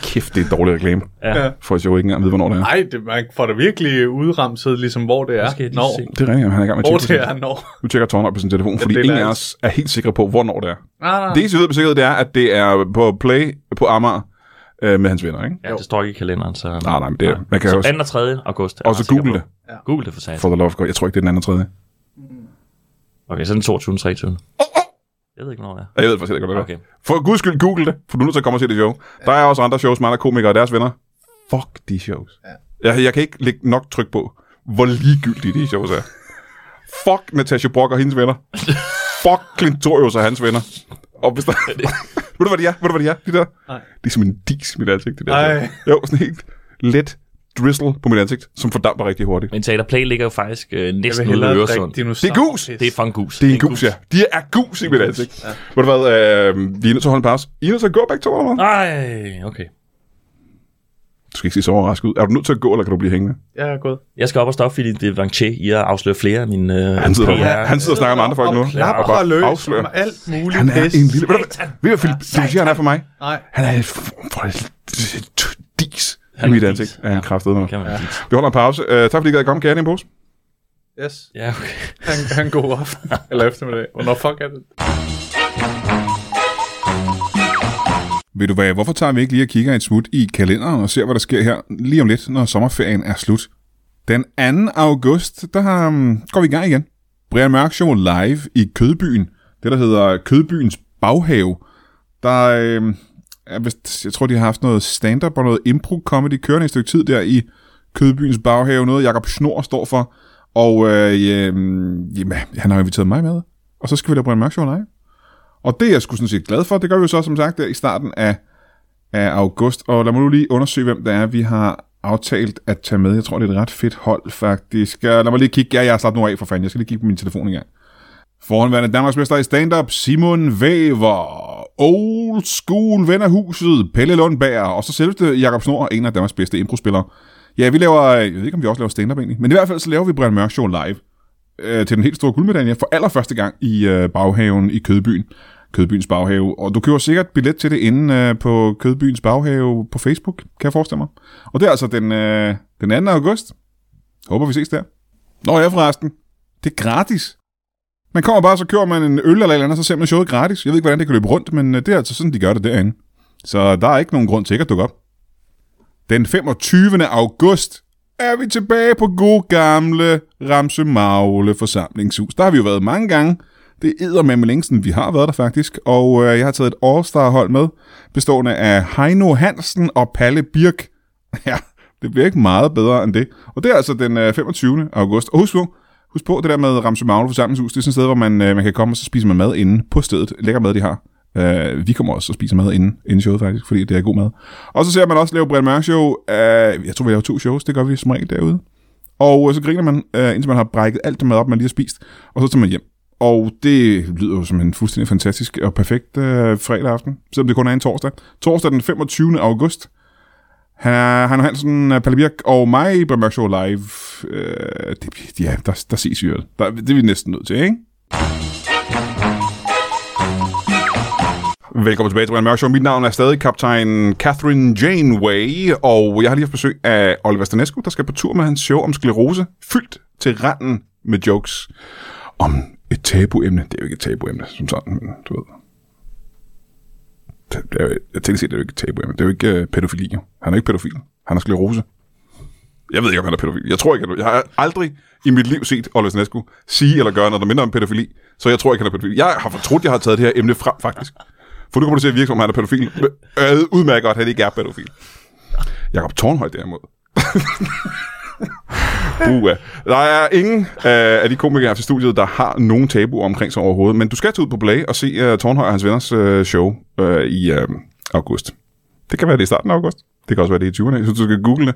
Kæft, det er dårlig reklame. Ja. Ja. For jeg jo ikke engang ved, hvornår det er. Nej, det, man får da virkelig udramset, ligesom hvor det er. skal jeg lige når. se. Det er rigtigt, han er i gang med Hvor at det tjekke. er, på sin- når. Nu tjekker Tårn op på sin telefon, fordi det er ingen da af alt. os er helt sikre på, hvornår det er. Nej, nej. Det eneste, vi ved på sikkerhed, det er, at det er på play på Amager øh, med hans venner, ikke? ja, det står ikke i kalenderen, så... Nej, nej, men det er, Ah, man kan Så jo også, anden og tredje august. er jeg også ret sikker google på. det, Google det for satan. for the love of God. Jeg tror ikke, det er den anden tredje. Okay, så er den 22. 23. Jeg ved ikke, hvornår det er. Jeg ved faktisk ikke, hvad det er. Okay. For guds skyld, google det, for du er nødt til at komme og se det show. Der er også andre shows med andre komikere og deres venner. Fuck de shows. Ja. Jeg, jeg kan ikke lægge nok tryk på, hvor ligegyldige de shows er. Fuck Natasha Brock og hendes venner. Fuck Clintorius og hans venner. Og hvis der... Ved du, hvad de er? Ved du, hvad de er? De der? Nej. Det er som en dis, mit ansigt. Det der. Ej. Jo, sådan helt let drizzle på mit ansigt, som fordamper rigtig hurtigt. Men Teater Play ligger jo faktisk øh, Jeg vil næsten ude i hellere Øresund. drikke Det dinosaur. Det er gus! er for en gus. Det er en gus, ja. De er gus i mit ansigt. Ja. Ved du hvad, øh, vi er nødt til at holde en pause. I er nødt til at gå begge to, eller hvad? Ej, okay. Du skal ikke se så overrasket ud. Er du nødt til at gå, eller kan du blive hængende? Jeg er gået. Jeg skal op og stoppe, fordi det er Vanché i at afsløre flere af mine... Øh, Han sidder, PR. ja, han sidder og snakker med andre folk nu. Og klapper bare og løs afslører. om alt muligt. Han er pis. en lille... Ved du, hvad- ved du, hvad Philip Dugier, han er for mig? Nej. Han er en form for en dis i er mit en ansigt. dis, Ja, han kraftede mig. Kan man sige. Vi holder en pause. Uh, tak fordi I gad komme. Kan jeg have en pose? Yes. Ja, okay. Han, han god aften. Eller eftermiddag. Hvornår fuck er det? Ved du hvad, hvorfor tager vi ikke lige og kigger et smut i kalenderen og ser, hvad der sker her lige om lidt, når sommerferien er slut? Den 2. august, der um, går vi i gang igen. Brian Mørk Show live i Kødbyen. Det, der hedder Kødbyens baghave. Der øh, er vist, jeg tror, de har haft noget stand-up og noget impro-comedy kørende et stykke tid der i Kødbyens baghave. Noget, Jakob Snor står for. Og øh, øh, jamen, han har inviteret mig med. Og så skal vi da Brian Mørk Show live. Og det er jeg sgu sådan set glad for. Det gør vi jo så, som sagt, der i starten af, af august. Og lad mig nu lige undersøge, hvem det er, vi har aftalt at tage med. Jeg tror, det er et ret fedt hold, faktisk. Ja, lad mig lige kigge. Ja, jeg har slappet nu af, for fanden. Jeg skal lige kigge på min telefon engang. Forhåndværende Danmarksmester i stand-up, Simon Væver, old school ven af huset, Pelle Lundberg, og så selveste Jakob Snor, en af Danmarks bedste improspillere. Ja, vi laver, øh, jeg ved ikke, om vi også laver stand-up egentlig, men i hvert fald så laver vi Brian Mørk Show live øh, til den helt store guldmedalje for allerførste gang i øh, baghaven i Kødbyen. Kødbyens baghave. Og du køber sikkert billet til det inde øh, på Kødbyens baghave på Facebook, kan jeg forestille mig. Og det er altså den, øh, den 2. august. Håber vi ses der. Nå ja, forresten. Det er gratis. Man kommer bare, så kører man en øl eller et eller andet, så ser man showet gratis. Jeg ved ikke, hvordan det kan løbe rundt, men øh, det er altså sådan, de gør det derinde. Så der er ikke nogen grund til ikke at dukke op. Den 25. august er vi tilbage på god gamle Ramse Magle forsamlingshus. Der har vi jo været mange gange. Det er med længe siden vi har været der faktisk. Og øh, jeg har taget et All-Star-hold med, bestående af Heino Hansen og Palle Birk. Ja, det bliver ikke meget bedre end det. Og det er altså den øh, 25. august. Og husk nu, husk på det der med Ramse Magle forsamlingshus. Det er sådan et sted, hvor man, øh, man kan komme og så spise med mad inde på stedet. Lækker mad, de har. Øh, vi kommer også og spiser mad inden, inden showet faktisk, fordi det er god mad. Og så ser man også lave Brian Mørk show. Øh, jeg tror, vi laver to shows. Det gør vi som regel derude. Og øh, så griner man, øh, indtil man har brækket alt det mad op, man lige har spist. Og så tager man hjem. Og det lyder jo som en fuldstændig fantastisk og perfekt øh, fredag aften, selvom det kun er en torsdag. Torsdag den 25. august. Han er, han er Hansen, øh, Palle Birk og mig i Brian Mørk Show live. Øh, det, ja, der, der ses vi jo. Der, det er vi næsten nødt til, ikke? Velkommen tilbage til Brian Mørk Show. Mit navn er stadig kaptajn Catherine Janeway, og jeg har lige haft besøg af Oliver Stanescu, der skal på tur med hans show om sklerose, fyldt til randen med jokes om et tabuemne. Det er jo ikke et tabuemne, som sådan, men du ved. Det- Det er, jo- jeg tænker set, det er jo ikke et tabuemne. Det er jo ikke øh, pædofili, jo. Han er ikke pædofil. Han har sklerose. Jeg ved ikke, om han er pædofil. Jeg tror ikke, han er. Jeg har aldrig i mit liv set Oliver Stanescu sige eller gøre noget, der minder om pædofili, så jeg tror ikke, han er pædofil. Jeg har fortrudt, jeg har taget det her emne frem, faktisk. For nu kommer det til at virke, som om han er pædofil. Men Jeg ved udmærket godt, at han ikke er pædofil. Jakob Tornhøj derimod. Uha. Der er ingen øh, af de komikere her til studiet, der har nogen tabu omkring sig overhovedet. Men du skal tage ud på Play og se uh, Tornhøj og hans venners uh, show uh, i uh, august. Det kan være, det er i starten af august. Det kan også være, det er i 20'erne. Jeg synes, du skal google det.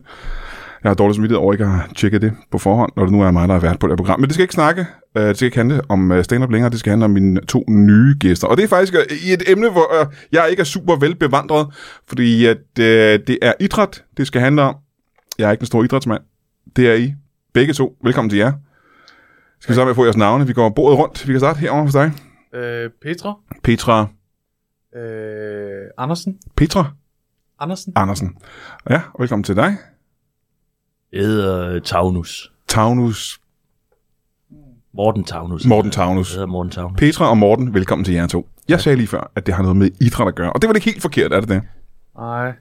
Jeg har dårlig smittighed over, ikke at have tjekket det på forhånd, når det nu er mig, der har været på det her program. Men det skal jeg ikke snakke Øh, Det skal ikke handle om øh, stand-up længere, det skal handle om mine to nye gæster. Og det er faktisk øh, i et emne, hvor øh, jeg ikke er super velbevandret, fordi at, øh, det er idræt, det skal handle om. Jeg er ikke en stor idrætsmand. Det er I. Begge to. Velkommen til jer. Skal vi starte med at få jeres navne? Vi går bordet rundt. Vi kan starte herovre hos dig. Øh, Petra. Petra. Øh, Andersen. Petra Andersen. Andersen. Ja, og velkommen til dig. Jeg hedder øh, Tagnus. Tagnus. Morten Tagnus. Morten Tagnus. Jeg hedder Morten Tagnus. Petra og Morten, velkommen til jer to. Jeg sagde lige før, at det har noget med idræt at gøre, og det var det ikke helt forkert, er det det? Nej.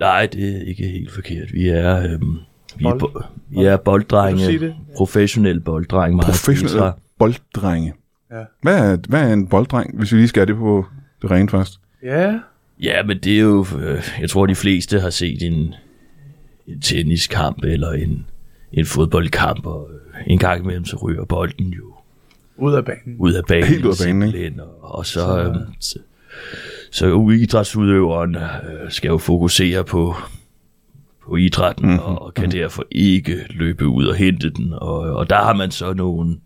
Nej, det er ikke helt forkert. Vi er, øhm, vi er, Bold. bo- vi er Kan du sige det? bolddrenge. Professionelle bolddrenge. Mark Professionelle Petra. bolddrenge. Ja. Hvad, er, hvad er en bolddreng, hvis vi lige skal have det på det rene først? Ja. Ja, men det er jo... Øh, jeg tror, de fleste har set en, en tenniskamp eller en, en fodboldkamp, og øh, en gang imellem så ryger bolden jo Ud af banen. ud af banen. Helt ud af banen, ikke? simpelthen, Og, og så, så, øhm, så, så jo, idrætsudøveren øh, skal jo fokusere på, på idrætten, Mhm. mm-hmm. og kan derfor ikke løbe ud og hente den. Og, og der har man så nogle,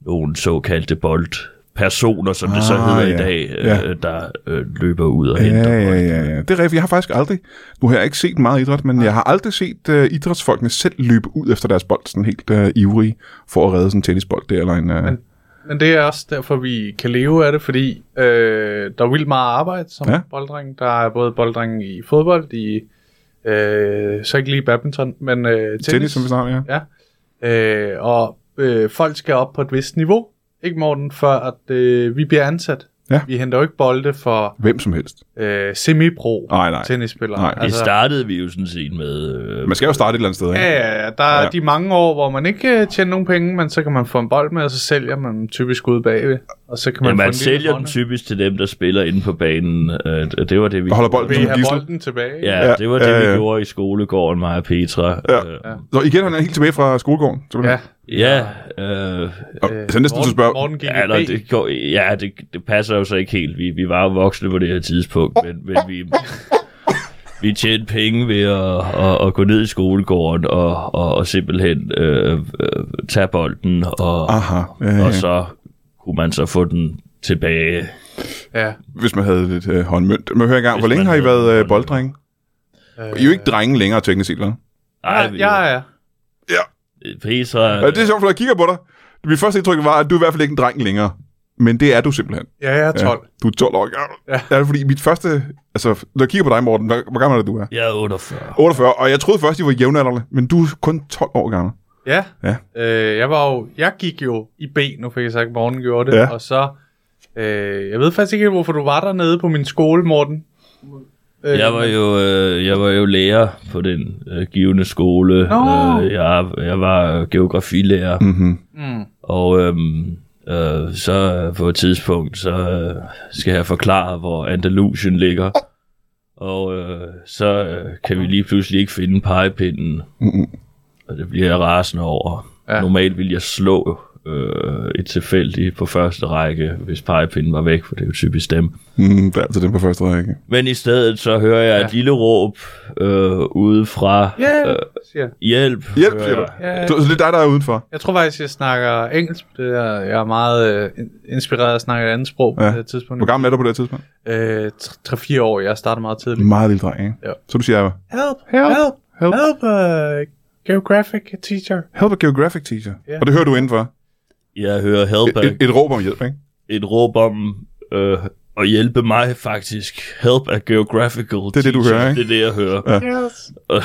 nogle såkaldte boldpersoner, som det så Ah, hedder ja. i dag, øh, Ja. der øh, løber ud og Ja, henter ja, bolden. ja, ja. Det er rigtigt. Jeg har faktisk aldrig, nu har jeg ikke set meget idræt, men jeg har aldrig set uh, idrætsfolkene selv løbe ud efter deres bold, sådan helt uh, ivrige, for at redde sådan en tennisbold der, eller en... Uh, Men- Men det er også derfor, vi kan leve af det, fordi øh, der er vildt meget arbejde som Ja. ja. bolddreng. Der er både bolddreng i fodbold, i øh, så ikke lige badminton, men øh, tennis. tennis, som vi snakker om, ja. Ja. Øh, og øh, folk skal op på et vist niveau, ikke Morten, før at øh, vi bliver ansat. Ja. Vi henter jo ikke bolde for Hvem som helst. øh, semi-pro Nej, nej. tennisspillere. Altså, Nej. Det startede vi jo sådan set med... Øh, Man skal jo starte et eller andet sted, ikke? Ja, ja, ja. Der er Ja. ja. de mange år, hvor man ikke øh, tjener nogen penge, men så kan man få en bold med, og så sælger man dem typisk ud bagved. Og så kan man, få ja, en man lille sælger den krone. typisk til dem, der spiller inde på banen. Øh, det var det, vi Og holder bolden Vil I som have gidsel. bolden tilbage? Ja, Ja, det var ja, det, ja. vi gjorde i skolegården, mig og Petra. Ja. Øh, Så igen, han er helt tilbage fra skolegården. ja. simpelthen. ja, øh, Og, så næsten til at Morten, spørge, Morten GGB. ja, eller det, går, ja det, det passer jo så ikke helt. Vi, vi var jo voksne på det her tidspunkt, men, men vi, vi tjente penge ved at, at, at gå ned i skolegården og, og, og simpelthen øh, øh, tage bolden, og, aha, Ah, ja, ja, og ja. så kunne man så få den tilbage. ja. hvis man havde lidt øh, håndmønt. Men hør engang, Hvis hvor længe man har I havde været øh, håndmønt. bolddrenge? Øh, I er jo ikke drenge længere, teknisk set, vel? Ej, Ja, ja, ja. Petra, Ja, det er sjovt, for jeg kigger på dig. Mit første indtryk var, at du er i hvert fald ikke en dreng længere. Men det er du simpelthen. Ja, jeg er 12. Ja, du er 12 år gammel. Ja. Ja. ja, fordi mit første... Altså, når jeg kigger på dig, Morten, hvor, hvor gammel er du er? jeg er 48. 48, og jeg troede først, I var jævnaldrende, men du er kun 12 år gammel. Ja. Ja. Øh, jeg var jo, jeg gik jo i B, nu fik jeg sagt, at Morten gjorde det, Ja. ja. og så, øh, jeg ved faktisk ikke, helt, hvorfor du var dernede på min skole, Morten. Øh, Jeg var jo, øh, jeg var jo lærer på den øh, givende skole. Nå. Øh, jeg, jeg var geografilærer, mm. Mm-hmm. Mm, og øhm, øh, så øh, på et tidspunkt, så øh, skal jeg forklare, hvor Andalusien ligger. Og øh, så øh, kan vi lige pludselig ikke finde pegepinden, Mm-hmm. og det bliver jeg rasende over. Ja. Ja. Normalt ville jeg slå øh, et tilfældigt på første række, hvis pegepinden var væk, for det er jo typisk dem. Mm, det er altid den på første række. Men i stedet så hører jeg ja. et lille råb øh, ude fra Ja. øh, siger jeg. hjælp. Hjælp, hører siger du. jeg. Ja. Så, så det er dig, der er udenfor. Jeg tror faktisk, jeg snakker engelsk. Det er, jeg er meget øh, in- inspireret af at snakke et andet sprog Ja. ja. på det her tidspunkt. Hvor gammel er du på det her tidspunkt? Øh, 3-4 år, jeg startede meget tidligt. Meget lille dreng, ikke? Ja. Så du siger, Help, help, help, help. help, help uh, geographic teacher. help a geographic teacher. Ja. Og det hører du indenfor. Jeg hører help, Et, et, et, et råb om hjælp, ikke? et råb om øh, at hjælpe mig faktisk. Help a geographical Det er det, du teacher. hører, ikke? Det er det, jeg hører. Ja. Yes.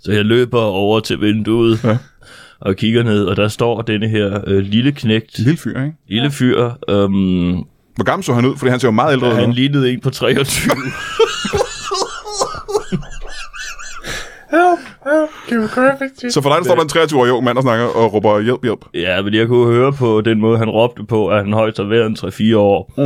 Så jeg løber over til vinduet Ja. ja. og kigger ned, og der står denne her øh, lille knægt, Lille fyr, ikke? lille fyr. Øhm, Hvor gammel så han ud? Fordi han ser jo meget ældre ud. han nu. lignede en på 23. Help, help, geographic teacher. Så for dig, der står der en 23-årig ung mand, der snakker og råber hjælp, hjælp. Ja, men jeg kunne høre på den måde, han råbte på, at han højst har været en 3-4 år. Mm.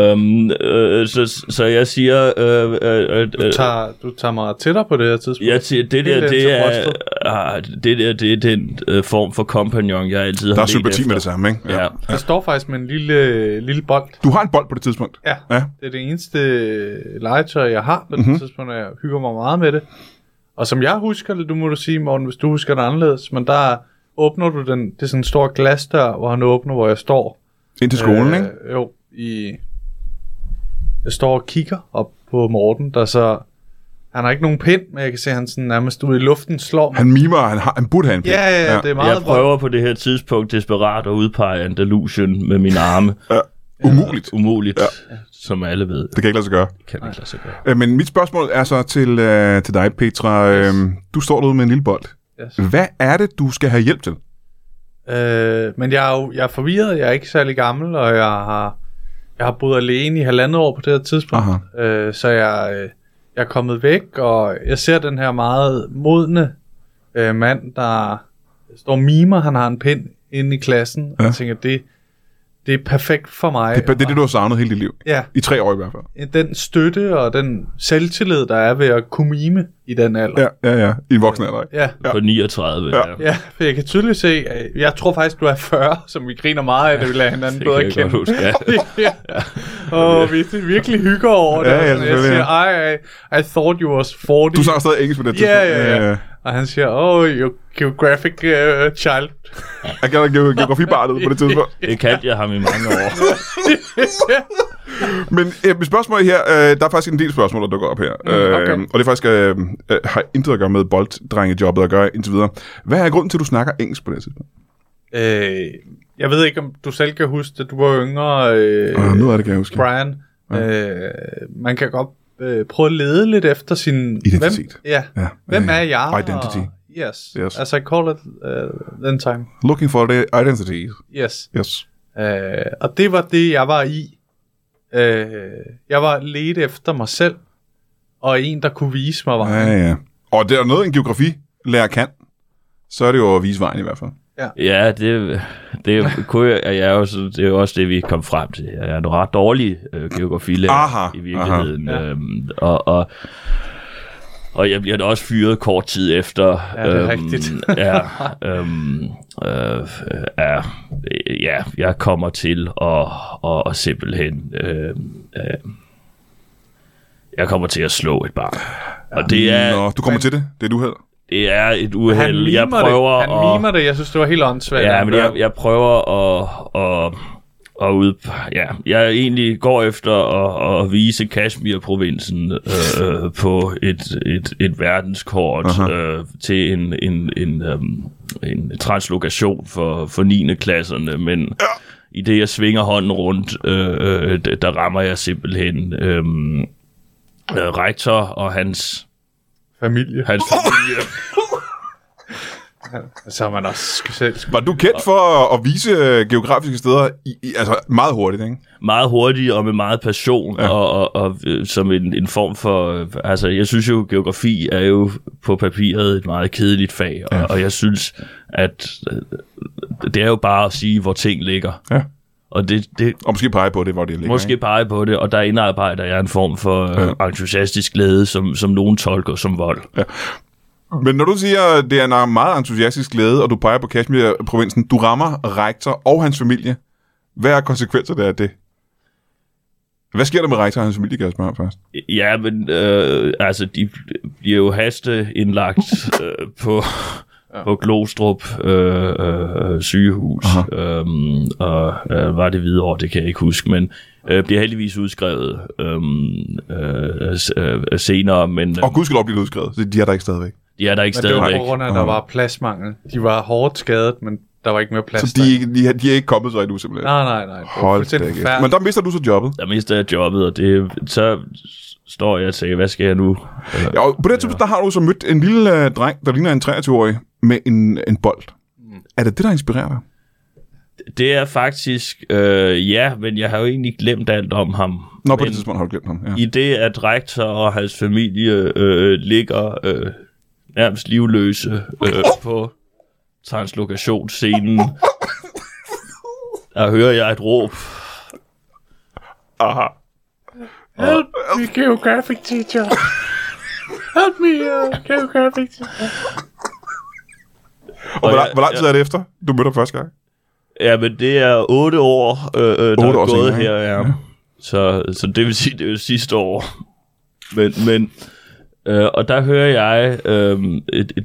Øhm, øh, så, så jeg siger, øh, øh, øh, Du øh, tager, du tager mig tættere på det her tidspunkt. jeg siger, det der, Helt det til er, brystet. ah, det der, det er den øh, form for kompagnon, jeg altid har Der er let sympati efter. med det samme, ikke? Ja. Jeg står faktisk med en lille, lille bold. Du har en bold på det tidspunkt. Ja. Ja. Mhm. Det er det eneste legetøj, jeg har på mm-hmm. det tidspunkt, og jeg hygger mig meget med det. Og som jeg husker det, du må du sige, Morten, hvis du husker det anderledes, men der er åbner du den, det er sådan en stor glasdør, hvor han åbner, hvor jeg står. Ind til skolen, øh, ikke? Øh, jo, i... Jeg står og kigger op på Morten, der så... Han har ikke nogen pind, men jeg kan se, at han sådan nærmest ude i luften slår mig. Han mimer, og han, har, han burde have en pind. Ja, ja, ja, det er meget Jeg prøver på det her tidspunkt desperat at udpege Andalusien med mine arme. Umuligt. Umuligt, ja. som alle ved, Det kan ikke lade sig gøre. kan ikke lade sig gøre. Øh, Men mit spørgsmål er så til, øh, til dig, Petra. Yes. Øhm, du står derude med en lille bold. Yes. Hvad er det, du skal have hjælp til? Øh, men jeg er jo jeg er forvirret, jeg er ikke særlig gammel, og jeg har, jeg har boet alene i halvandet år på det her tidspunkt. Ah. Øh, så jeg, øh, jeg er kommet væk, og jeg ser den her meget modne øh, mand, der står og mimer, han har en pind inde i klassen, ja. og Ja. jeg tænker, det, det er perfekt for mig. Det, det er det, du har savnet hele dit liv. Ja, I tre år i hvert fald. den støtte og den selvtillid, der er ved at kunne mime i den alder. Ja, ja, ja. I en voksen alder, ikke? Ja. På Ja. 39, ja. Ja, for jeg kan tydeligt se, at jeg tror faktisk, du er 40, som vi griner meget af, da vi lader hinanden Det bedre kan jeg godt kende. huske, ja. ja. Og vi virkelig hygger over det. Ja, ja, og sådan, jeg selvfølgelig, siger, I, I, I thought you was 40. Du snakker stadig engelsk på det Ja, tidspunkt. ja, Øh, ja. Og han siger, oh, you geographic uh, child. Jeg kalder det ge- geografibartet på det tidspunkt. Det kaldte jeg ham i mange år. Men øh, mit spørgsmål her, øh, der er faktisk en del spørgsmål, der dukker op her. Øh, Mm, okay. Og det er faktisk, øh, øh, har intet at gøre med bolddrengejobbet at gøre indtil videre. Hvad er grunden til, at du snakker engelsk på det tidspunkt? Øh, jeg ved ikke, om du selv kan huske det. Du var yngre, øh, Øh, nu er det, kan jeg huske. Brian. Øh, man kan godt øh, prøve at lede lidt efter sin... Identitet. Hvem, ja. Ja. Hvem er Øh, jeg? Identity. Og, yes. Yes. yes. As I call it uh, then time. Looking for the identity. Yes. Yes. Øh, og det var det, jeg var i. Øh, jeg var let efter mig selv, og en, der kunne vise mig vejen. Ja, ja. Og det er noget, en geografilærer kan. Så er det jo at vise vejen i hvert fald. Ja, det, det kunne jeg, jeg er jo, så- det er jo også det, vi kom frem til. Jeg er en ret dårlig øh, geografilærer Aha, i virkeligheden. Aha, ja. øhm, og, og, og jeg bliver da også fyret kort tid efter. Ja, det er rigtigt. ja, øhm, øh, ja, øh, ja, jeg kommer til at, at, at simpelthen... Øh, øh, jeg kommer til at slå et barn. Og det er, Nå, du kommer men- til det. Det er du her. det er et Han uheld. mimer, Jeg prøver det. Han at, mimer det. Jeg synes, det var helt åndssvagt. Ja, men jeg, jeg prøver at, at, at ud... Ja, jeg egentlig går efter at, at vise Kashmir-provinsen øh, på et, et, et verdenskort Aha. øh, til en, en, en, øhm, en translokation for, for 9. klasserne, men... Ja. I det, jeg svinger hånden rundt, øh, øh, d- der rammer jeg simpelthen øh, øh, rektor og hans, Familie. hans familie. Så er Altså, man også sk- selv sk- Var du kendt for at- at vise øh, geografiske steder i, i, altså meget hurtigt, ikke? meget hurtig og med meget passion, ja. og, og, og øh, som en, en form for... øh, Altså, jeg synes jo, geografi er jo på papiret et meget kedeligt fag, og, ja. og jeg synes, at øh, det er jo bare at sige, hvor ting ligger. Ja. Og det, det Og måske pege på det, hvor det ligger. måske ikke? pege på det, og der indarbejder jeg en form for ja. entusiastisk glæde, som, som nogen tolker som vold. Men når du siger, at det er en meget entusiastisk glæde, og du peger på Kashmir-provinsen, du rammer rektor og hans familie. Hvad er konsekvenserne af det? Hvad sker der med rektor og hans familie, kan jeg spørge om først? Ja, men øh, altså, de bliver jo hasteindlagt øh, på, på Glostrup øh, øh, sygehus, øhm, og øh, var det videre, det kan jeg ikke huske, men øh, bliver heldigvis udskrevet øhm, øh, s- øh, senere, men øh, Og gudskelov bliver det udskrevet, så de er der ikke stadigvæk. de er der ikke Men det var stadigvæk. på grund af, at der var pladsmangel. De var hårdt skadet, men der var ikke mere plads. Så de, der. er ikke- de, er- de er ikke kommet så endnu, simpelthen. Nej, nej, nej. Det var Hold da fuldstændig kæft. forfærdeligt. Men der mister du så jobbet. Der mister jeg jobbet, og det, så står jeg og tænker, hvad skal jeg nu? Øh, Ja, og på det tidspunkt, der har du så mødt en lille øh, dreng, der ligner en 23-årig, med en, en bold. Er det det, der inspirerer dig? det er faktisk, øh, ja, men jeg har jo egentlig glemt alt om ham. Nå, på men, det tidspunkt har du glemt ham. Ja. i det, at rektor og hans familie øh, ligger øh, nærmest livløse øh, på translokationsscenen, der hører jeg et råb. Aha. Help me, geographic teacher. Help me, uh, geographic teacher. Og hvor, lang, jeg- hvor lang tid er det efter, du mødte ham første gang? Ja, men det er otte år, øh, øh, der Otte er år gået senere, her. Ja. Så, så det vil sige, det er jo sidste år. Men, men Øh, og der hører jeg øh,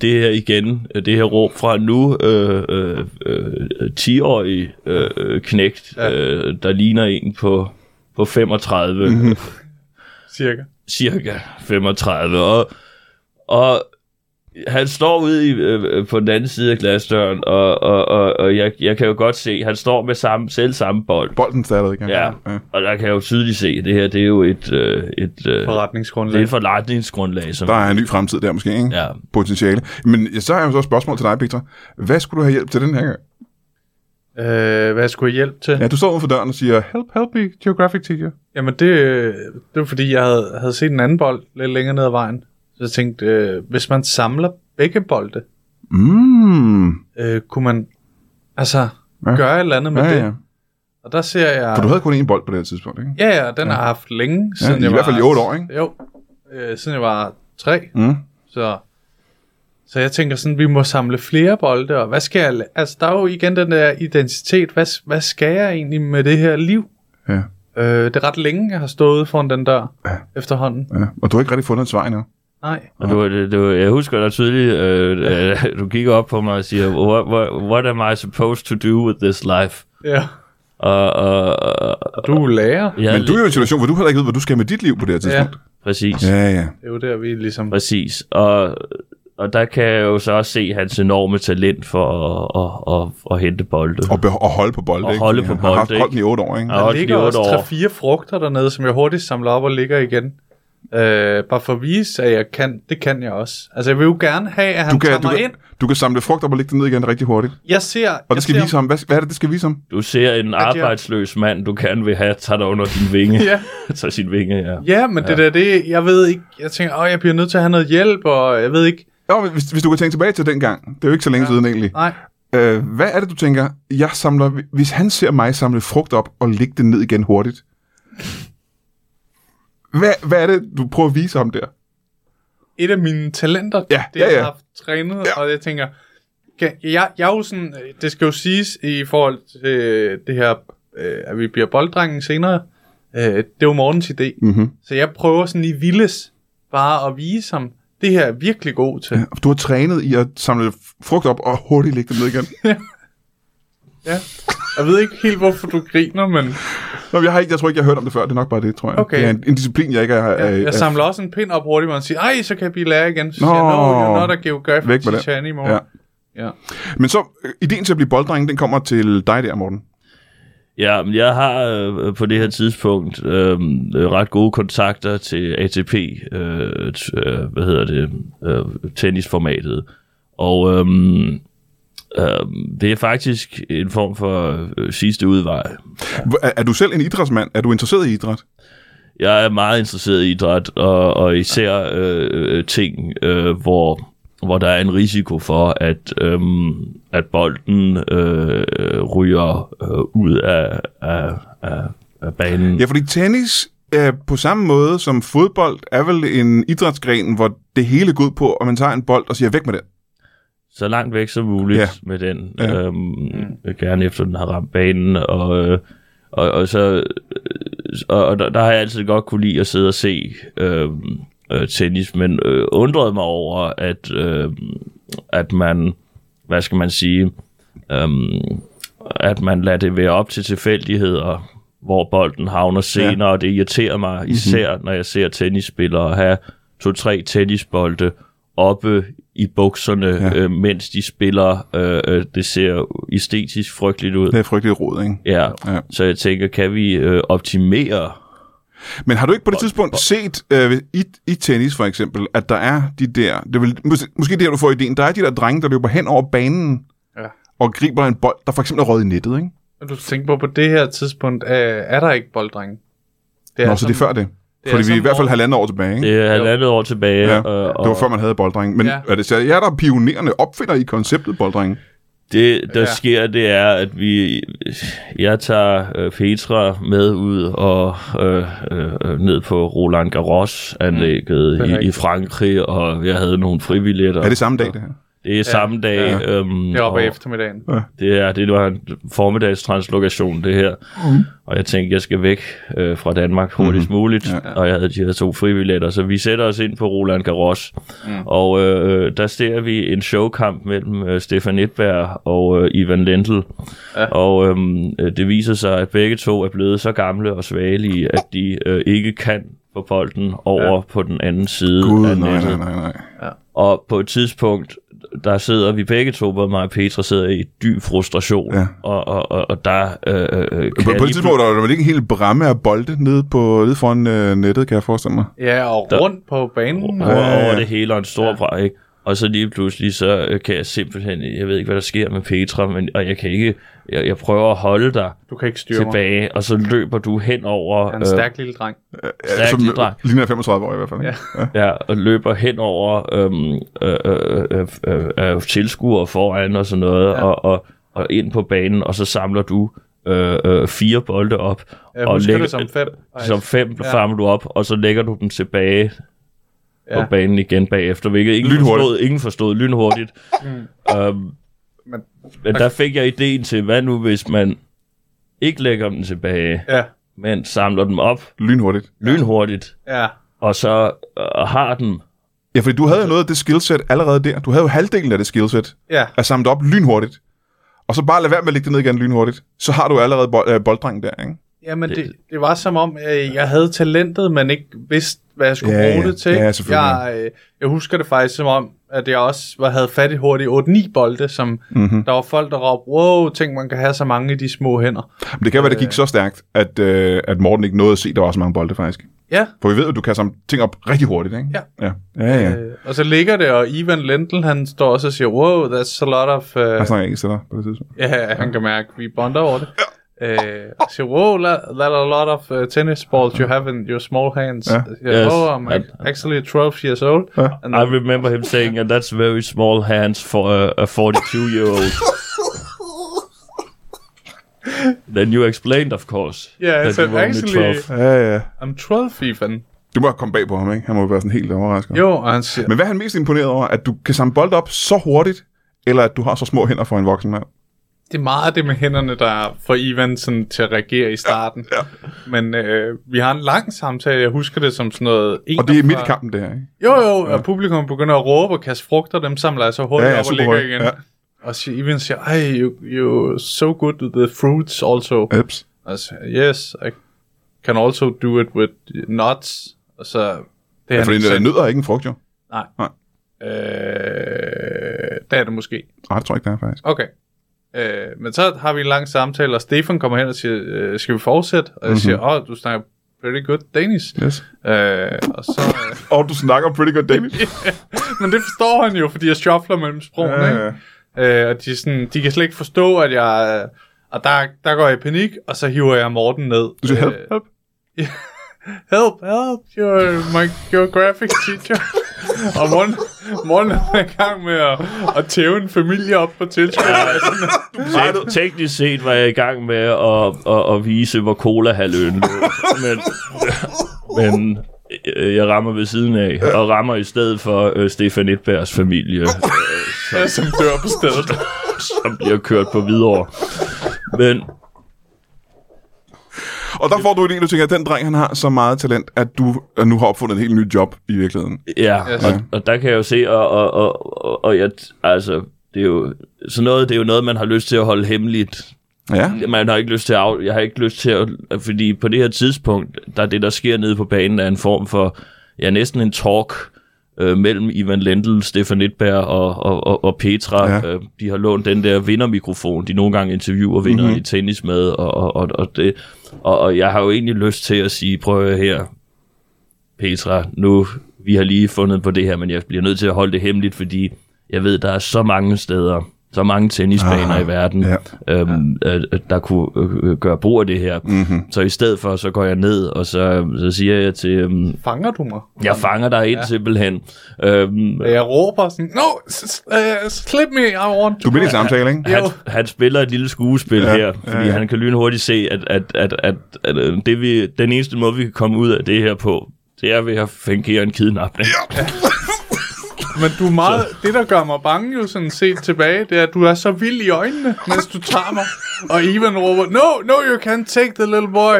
det her igen, øh, det her råb fra nu øh, øh, øh, 10-årig øh, øh, knægt, Ja. ja. øh, der ligner en på, på 35, Mhm. mm-hmm. cirka. cirka 35. Og, og han står ude i, øh, på den anden side af glasdøren, og, og, og, og jeg, jeg kan jo godt se, han står med samme, selv samme bold. Bolden stadig ikke? Ja, ja. og der kan jeg jo tydeligt se, at det her det er jo et, øh, et, øh, det er Forretningsgrundlag. et forretningsgrundlag. Som, Der er en ny fremtid der måske, ikke? ja. Potentiale. Men ja, så har jeg jo så et spørgsmål til dig, Peter. Hvad skulle du have hjælp til den her gang? Øh, hvad skulle jeg hjælpe til? Ja, du står uden for døren og siger, help, help me, geographic teacher. Mm, Jamen det, øh, det var fordi, jeg havde, havde set en anden bold lidt længere ned ad vejen. Så jeg tænkte, øh, hvis man samler begge bolde, Mm. øh, kunne man altså Ja. ja. gøre et eller andet med Ja, det. ja. Og der ser jeg... For du havde kun én bold på det her tidspunkt, ikke? Ja, ja, den ja. har jeg haft længe, siden i jeg hvert var- fald i otte år, ikke? Jo, øh, siden jeg var tre. Mm. Så, så jeg tænker sådan, vi må samle flere bolde, og hvad skal jeg... la- Altså, der er jo igen den der identitet. Hvad, hvad skal jeg egentlig med det her liv? Ja. Øh, det er ret længe, jeg har stået foran den dør Ja. ja. efterhånden. ja. Og du har ikke rigtig fundet et svar endnu. Nej. Og du, du, jeg husker dig tydeligt, øh, øh, du kigger op på mig og siger, what, what, what am I supposed to do with this life? Ja. Og, og, og, og Du er lærer. jeg Men du er jo i en situation, hvor du heller ikke ved, hvad du skal med dit liv på det her tidspunkt. Præcis, Ja, ja. ja. Det er jo der, vi ligesom... præcis. Og, og der kan jeg jo så også se hans enorme talent for at, at, at, at hente bolde. Og, beho- og holde på bolden, Og ikke? holde Fordi på han har haft bolden, bolden i otte år, ikke? Ja. Der også ligger lige også otte år. 3-4 frugter dernede, som jeg hurtigt samler op og ligger igen. Øh, bare for at vise, at jeg kan, det kan jeg også. Altså, jeg vil jo gerne have, at han Du kan, tager du, mig kan, ind. du kan samle frugt op og lægge det ned igen rigtig hurtigt. Jeg ser... Og jeg det skal ser, vise ham. Hvad, hvad er det, det skal vise ham? Du ser en jeg- arbejdsløs mand, du kan vil have, tager dig under din vinge. Ja, tager sin vinge, ja. ja men ja. det der, det... Jeg ved ikke... Jeg tænker, åh, jeg bliver nødt til at have noget hjælp, og jeg ved ikke... Jo, men hvis, hvis du kan tænke tilbage til den gang. Det er jo ikke så længe ja. siden egentlig. Nej, Øh, hvad er det, du tænker? Jeg samler, hvis han ser mig samle frugt op og lægge det ned igen hurtigt. Hvad, hvad er det, du prøver at vise ham der? et af mine talenter, Ja, det ja, jeg ja. har haft trænet, Ja. ja. og jeg tænker, kan, jeg, jeg er jo sådan, øh, det skal jo siges i forhold til øh, det her, øh, at vi bliver bolddrengen senere, øh, det er jo morgens idé, Mhm. så jeg prøver sådan i vildes bare at vise ham, det her er jeg virkelig god til. Ja. Øh, Du har trænet i at samle frugt op og hurtigt lægge det ned igen. ja. Jeg ved ikke helt, hvorfor du griner, men Nå, jeg, har ikke, jeg tror ikke, jeg har hørt om det før. Det er nok bare det, tror jeg. Okay. Det er en, en disciplin, jeg ikke er... er- jeg, er- jeg samler også en pind op hurtigt, og han siger, ej, så kan jeg blive lærer igen. Så Nå. siger jeg, no, you're not a Væk geographic med det. teacher anymore. Ja. Ja. Ja. Men så, øh, ideen til at blive bolddreng, den kommer til dig der, Morten. Ja, men jeg har øh, på det her tidspunkt øh, øh, ret gode kontakter til ATP, øh, t- øh, hvad hedder det, øh, tennisformatet. Og øh, øh, det er faktisk en form for øh, sidste udvej. Hvor- Er, er du selv en idrætsmand? Er du interesseret i idræt? Jeg er meget interesseret i idræt, og, og især øh, øh, ting, øh, hvor, hvor der er en risiko for, at, øh, at bolden øh, øh, ryger øh, ud af, af, af, af banen. Ja, fordi tennis øh, på samme måde som fodbold er vel en idrætsgren, hvor det hele går ud på, at man tager en bold og siger, væk med den. så langt væk som muligt Ja. ja. med den. Ja. Ja. Øhm, Gerne efter den har ramt banen. Og, øh, og, og, så, øh, og, og der, der har jeg altid godt kunne lide at sidde og se øh, øh, tennis, men øh, undrede mig over, at, øh, at man, hvad skal man sige, øh, at man lader det være op til tilfældigheder, hvor bolden havner senere, ja. og det irriterer mig især, mm-hmm. når jeg ser tennisspillere have to-tre tennisbolde oppe i bukserne, Ja. ja. øh, mens de spiller. Øh, øh, det ser æstetisk frygteligt ud. Det er frygteligt råd, ikke? Ja. Ja. ja, så jeg tænker, kan vi øh, optimere? Men har du ikke på det tidspunkt set øh, i, i tennis for eksempel, at der er de der, det er vel, mås- måske der du får ideen, der er de der drenge, der løber hen over banen Ja. og griber en bold, der for eksempel er røget i nettet, ikke? Og Du tænker på, på det her tidspunkt, øh, er der ikke bolddrenge? Det Ja, Nå, så det er før det. er Fordi vi er sådan, i hvert fald hvor- halvandet år tilbage, ikke? Det er halvandet år tilbage. Ja, og, og det var før man havde bolddrenge. Men ja. Ja. er det så jer, der er pionerende opfinder i konceptet bolddrenge? Det, Ja. der ja. sker, det er, at vi, jeg tager øh, Petra med ud og øh, øh, øh, ned på Roland Garros-anlægget er mm, i, i rigtigt. Frankrig, og jeg havde nogle fribilletter. Er det samme dag, det her? Det er samme dag. ja. Ja. Øhm, Jeg er oppe og i eftermiddagen. det, er, det var en formiddagstranslokation, det her. Mm. Og jeg tænkte, jeg skal væk øh, fra Danmark hurtigst mm-hmm. muligt. Ja. Og jeg havde de her to fribilletter, så vi sætter os ind på Roland Garros. Mm. Og øh, øh, der ser vi en showkamp mellem øh, Stefan Edberg og øh, Ivan Lendl. Ja. Og øh, øh, det viser sig, at begge to er blevet så gamle og svagelige, at de øh, ikke kan få bolden over ja. på den anden side Gud, af nej, nettet. nej, nej, nej. Og på et tidspunkt, der sidder vi begge to, både mig og Petra, sidder i dyb frustration. Ja. Og, og, og, og der øh, øh, kan På, jeg på et lige tidspunkt der var der vel ikke en hel bramme af bolde nede, på, nede foran øh, nettet, kan jeg forestille mig. Ja, og Der- rundt på banen. over, Ja, ja, over ja. det hele og en stor ja. bræk. Ikke? Og så lige pludselig, så øh, kan jeg simpelthen, jeg ved ikke, hvad der sker med Petra, men, og jeg kan ikke, jeg, jeg prøver at holde dig Du kan ikke styre mig. tilbage, og så løber du hen over, Han er en stærk lille dreng. stærk som lille dreng. ligner 35 år i hvert fald. Ja. Ikke? Ja. ja, og løber hen over øhm, øh, øh, øh, øh, øh, tilskuere foran og sådan noget, ja. og, og, og ind på banen, og så samler du øh, øh, fire bolde op, Jeg og husker det som fem. som fem Ja. ja. farmer du op, og så lægger du dem tilbage ja. Ja. på banen igen bagefter, hvilket ingen Lynhurtigt. forstod, ingen forstod lynhurtigt. Mm. Øhm, Men- men, men der fik jeg ideen til, hvad nu hvis man ikke lægger dem tilbage, Ja, men samler dem op Lynhurtigt. lynhurtigt, ja. og så øh, har dem Ja, fordi du havde jo noget af det skillset allerede der. Du havde jo halvdelen af det skillset Ja, at samle op lynhurtigt. Og så bare lade være med at lægge det ned igen lynhurtigt. Så har du allerede bold, øh, bolddrengen der, ikke? Jamen, det, det var som om, øh, jeg havde talentet, men ikke vidste, hvad jeg skulle Ja, bruge ja. det til. Ja, selvfølgelig. Jeg, øh, jeg husker det faktisk som om, at jeg også var, havde fat i hurtigt 8-9 bolde, som Mhm. mm-hmm. der var folk, der råbte, wow, tænk, man kan have så mange i de små hænder. Men det kan være, det gik så stærkt, at, øh, at Morten ikke nåede at se, at der var så mange bolde faktisk. Ja, For vi ved jo, at du kan samle ting op rigtig hurtigt, ikke? Ja. Ja, ja. ja. øh, og så ligger det, og Ivan Lendl, han står også og siger, wow, that's a lot of... Øh, Jeg snakker ikke til dig på det tidspunkt. Ja, han kan mærke, at vi bonder over det. Øh, og siger, wow, that that are a lot of uh, tennis balls you have in your small hands. Ja. Yeah, Yes. Oh, I'm actually 12 years old. Ja. And I remember him saying, and that's very small hands for a, a 42 year old. then you explained, of course. Yeah, that so you were only actually- 12. Ja, ja. I'm 12 even. Du må komme bag på ham, ikke? Han må jo være sådan helt overrasket. Jo, og han siger, Men hvad er han mest imponeret over? At du kan samle bold op så hurtigt, eller at du har så små hænder for en voksen mand? det er meget det med hænderne, der får Ivan sådan, til at reagere i starten. Ja, ja. Men øh, vi har en lang samtale, jeg husker det som sådan noget... Og det er 41. midt i kampen, det her, ikke? Jo, jo, og publikum begynder at råbe og kaste frugter, dem samler jeg så hurtigt Ja, ja, ja, ja, op og super ligger hurtigt, igen. ja. Ja. Og siger, Ivan siger, ej, you, you're so good with the fruits also. Eps. Og så, yes, I can also do it with nuts. Og så... Det Ja, han fordi ikke en selv. nødder er ikke en frugt, jo. Nej. Nej. Øh, der er det måske. Ej, det tror jeg ikke, det er, faktisk. Okay. Øh, men så har vi en lang samtale, og Stefan kommer hen og siger, øh, skal vi fortsætte? Og jeg Mhm. mm-hmm. siger, åh, oh, du snakker pretty good Danish. Yes. Øh, og så... Øh, Og du snakker pretty good Danish. men det forstår han jo, fordi jeg shuffler mellem sprogene, Ja, ja, ja. ja. ikke? Øh, og de, er sådan, de kan slet ikke forstå, at jeg... øh, Og der, der går jeg i panik, og så hiver jeg Morten ned. Øh, Du siger, Øh, help, help. help, help, you're my your graphic teacher. og Morten, Morten er i gang med at, at tæve en familie op på altså, tilskuerne. Tek- teknisk set var jeg i gang med at, at, at vise, hvor cola halvøen lå. Men, men øh, jeg rammer ved siden af, og rammer i stedet for øh, Stefan Edbergs familie, øh, Ja, som dør på stedet. som bliver kørt på videre. Men Og der får du en idé, du tænker, at den dreng, han har så meget talent, at du øh, nu har opfundet en helt ny job i virkeligheden. Ja, Yes. yes. og, og der kan jeg jo se, og, og, og, og, og jeg, altså, det er jo, sådan noget, det er jo noget, man har lyst til at holde hemmeligt. Ja. Man har ikke lyst til at, af- jeg har ikke lyst til at, fordi på det her tidspunkt, der er det, der sker nede på banen, er en form for, ja, næsten en talk øh, mellem Ivan Lendl, Stefan Edberg og, og, og, og Petra. Ja. Ja. Øh, de har lånt den der vindermikrofon, de nogle gange interviewer vinderne mm-hmm. i tennis med, og, og, og, og det, og, og jeg har jo egentlig lyst til at sige, prøv at høre her, Petra, nu, vi har lige fundet på det her, men jeg bliver nødt til at holde det hemmeligt, fordi jeg ved, der er så mange steder, så mange tennisbaner Ah, i verden, ja. øhm, øh, øh, der kunne øh, øh, gøre brug af det her. Mm-hmm. Så i stedet for, så går jeg ned, og så, så siger jeg til, øhm, Fanger du mig? jeg fanger dig ind ja. simpelthen. Øhm, Og Jeg råber sådan, no, s- s- øh, slip me, I want Du to. er midt i en samtale, ikke? han, Jo. han spiller et lille skuespil Ja, ja, her, ja, fordi ja, ja. ja. han kan lynhurtigt se, at, at, at, at, at øh, det vi, den eneste måde, vi kan komme ud af det her på, det er ved at fungere en kidnapning. Ja. Men du er meget, det der gør mig bange jo sådan set tilbage, det er, at du er så vild i øjnene, mens du tager mig. Og Ivan råber, no, no, you can't take the little boy.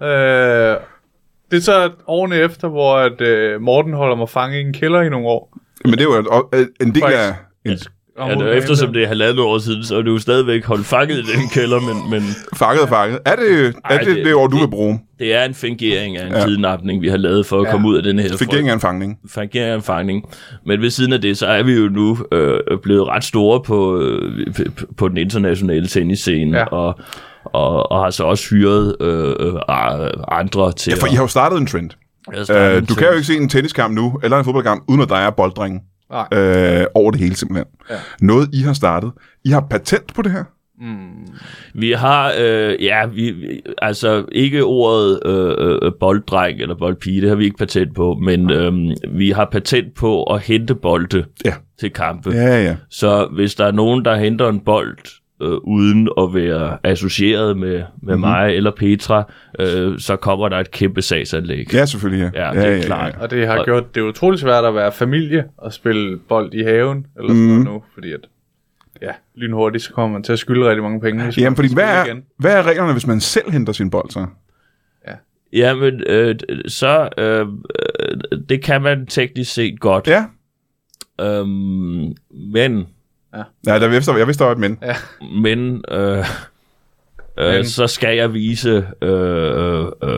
Ja. Øh, det er så årene efter, hvor at, øh, Morten holder mig fanget i en kælder i nogle år. Men det er jo et- og- øh, en del af... En Ja, det er, eftersom det er halvandet år siden, så er du jo stadigvæk holdt fanget i den kælder, men, men fanget og fanget. Er det er Ej, det, det, det- det ord, du det- vil bruge? det er en fingering af en Ja. ja. kidnapning, vi har lavet for at Ja. ja. komme ud af den her Fik frygt. ikke en fangning. fangere en fangning. Men ved siden af det, så er vi jo nu øh, blevet ret store på, øh, p- på den internationale tennisscene, Ja. ja. og, og, og har så også hyret øh, øh, a- andre til Ja, for I har jo startet en trend. at Øh, starte en du kan jo tennis- ikke se en tenniskamp nu, eller en fodboldkamp, uden at der er bolddrenge Nej. øh, over det hele simpelthen. Ja. Noget, I har startet. I har patent på det her. Mm. Vi har, øh, ja, vi, vi- altså ikke ordet øh, øh, bolddreng eller boldpige, det har vi ikke patent på, men øh, vi har patent på at hente bolde Ja. til kampe. Ja, ja. Så hvis der er nogen, der henter en bold, øh, uden at være associeret med, med Mhm. mm-hmm. mig eller Petra, øh, så kommer der et kæmpe sagsanlæg. Ja, selvfølgelig. Ja, Ja, det er klart. Og det har gjort det utroligt svært at være familie og spille bold i haven, eller sådan Mm. noget nu, fordi at, ja, lynhurtigt, så kommer man til at skylde rigtig mange penge. hvis Jamen, man fordi skal hvad spille er, hvad er reglerne, hvis man selv henter sin bold så? Jamen, øh, d- så øh, øh, det kan man teknisk set godt. Ja, Øhm, men Nej, der, jeg, vidste, jeg vidste, der var et men. Ja. men, øh, øh, Men. så skal jeg vise, øh, øh, øh,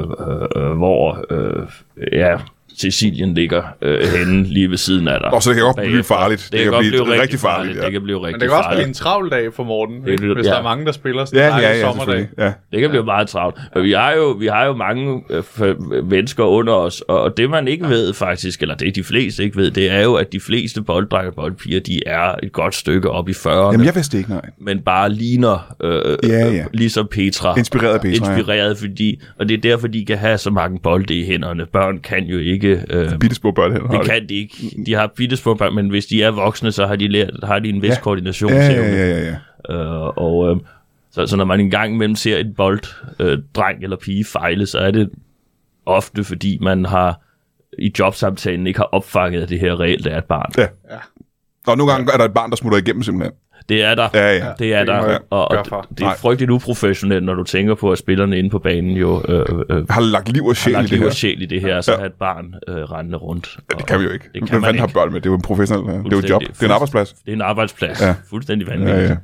øh, hvor øh, ja, Sicilien ligger øh, henne lige ved siden af dig. Og så det kan godt blive Bagefter. farligt. Det, godt blive rigtig farligt. Det ja. kan blive Men rigtig det kan også farligt. blive en travl dag for Morten, Det ikke? lyder- hvis ja. der er mange, der spiller sådan Ja, en ja, dejlig ja, sommerdag. selvfølgelig. Ja. Det kan blive meget travlt. Men vi har jo, vi har jo mange øh, f- mennesker under os, og og det man ikke ved faktisk, eller det de fleste ikke ved, det er jo, at de fleste bolddrenger og boldpiger, de er et godt stykke op i 40'erne, Jamen, jeg vidste det ikke, nej. men bare ligner, øh, Ja, ja, ja. ja. ligesom Petra. Inspireret af Petra, ja. Inspireret, fordi, og det er derfor, de kan have så mange bolde i hænderne. Børn kan jo ikke... Øh, Bitte små børn heller. det kan de ikke. De har bittesmå børn, men hvis de er voksne, så har de, lært, har de en Ja. vis ja. Ja, koordinationsevne. ja, ja, ja, ja. Øh, og øh, så, så når man en gang imellem ser en bold, øh, dreng eller pige fejle, så er det ofte, fordi man har i jobsamtalen ikke har opfanget, at det her reelt er et barn. Ja. Og nogle gange er der et barn, der smutter igennem simpelthen. Det er der. Ja, ja. Det er Det må der. jeg Og, gøre og for. det er Nej. frygteligt uprofessionelt, når du tænker på, at spillerne inde på banen jo øh, øh, Har lagt liv og sjæl har i det her. lagt sjæl i det her, og så Ja. ja. har et barn øh, rendende rundt. Og, Det kan vi jo ikke. Det Hvem kan man fanden har ikke. børn med? Det er jo en professionel. ja. Det er jo et Fuldstændig. job. Det er en arbejdsplads. Det er en arbejdsplads. Ja. Ja. Fuldstændig Ja, vanvittigt. ja.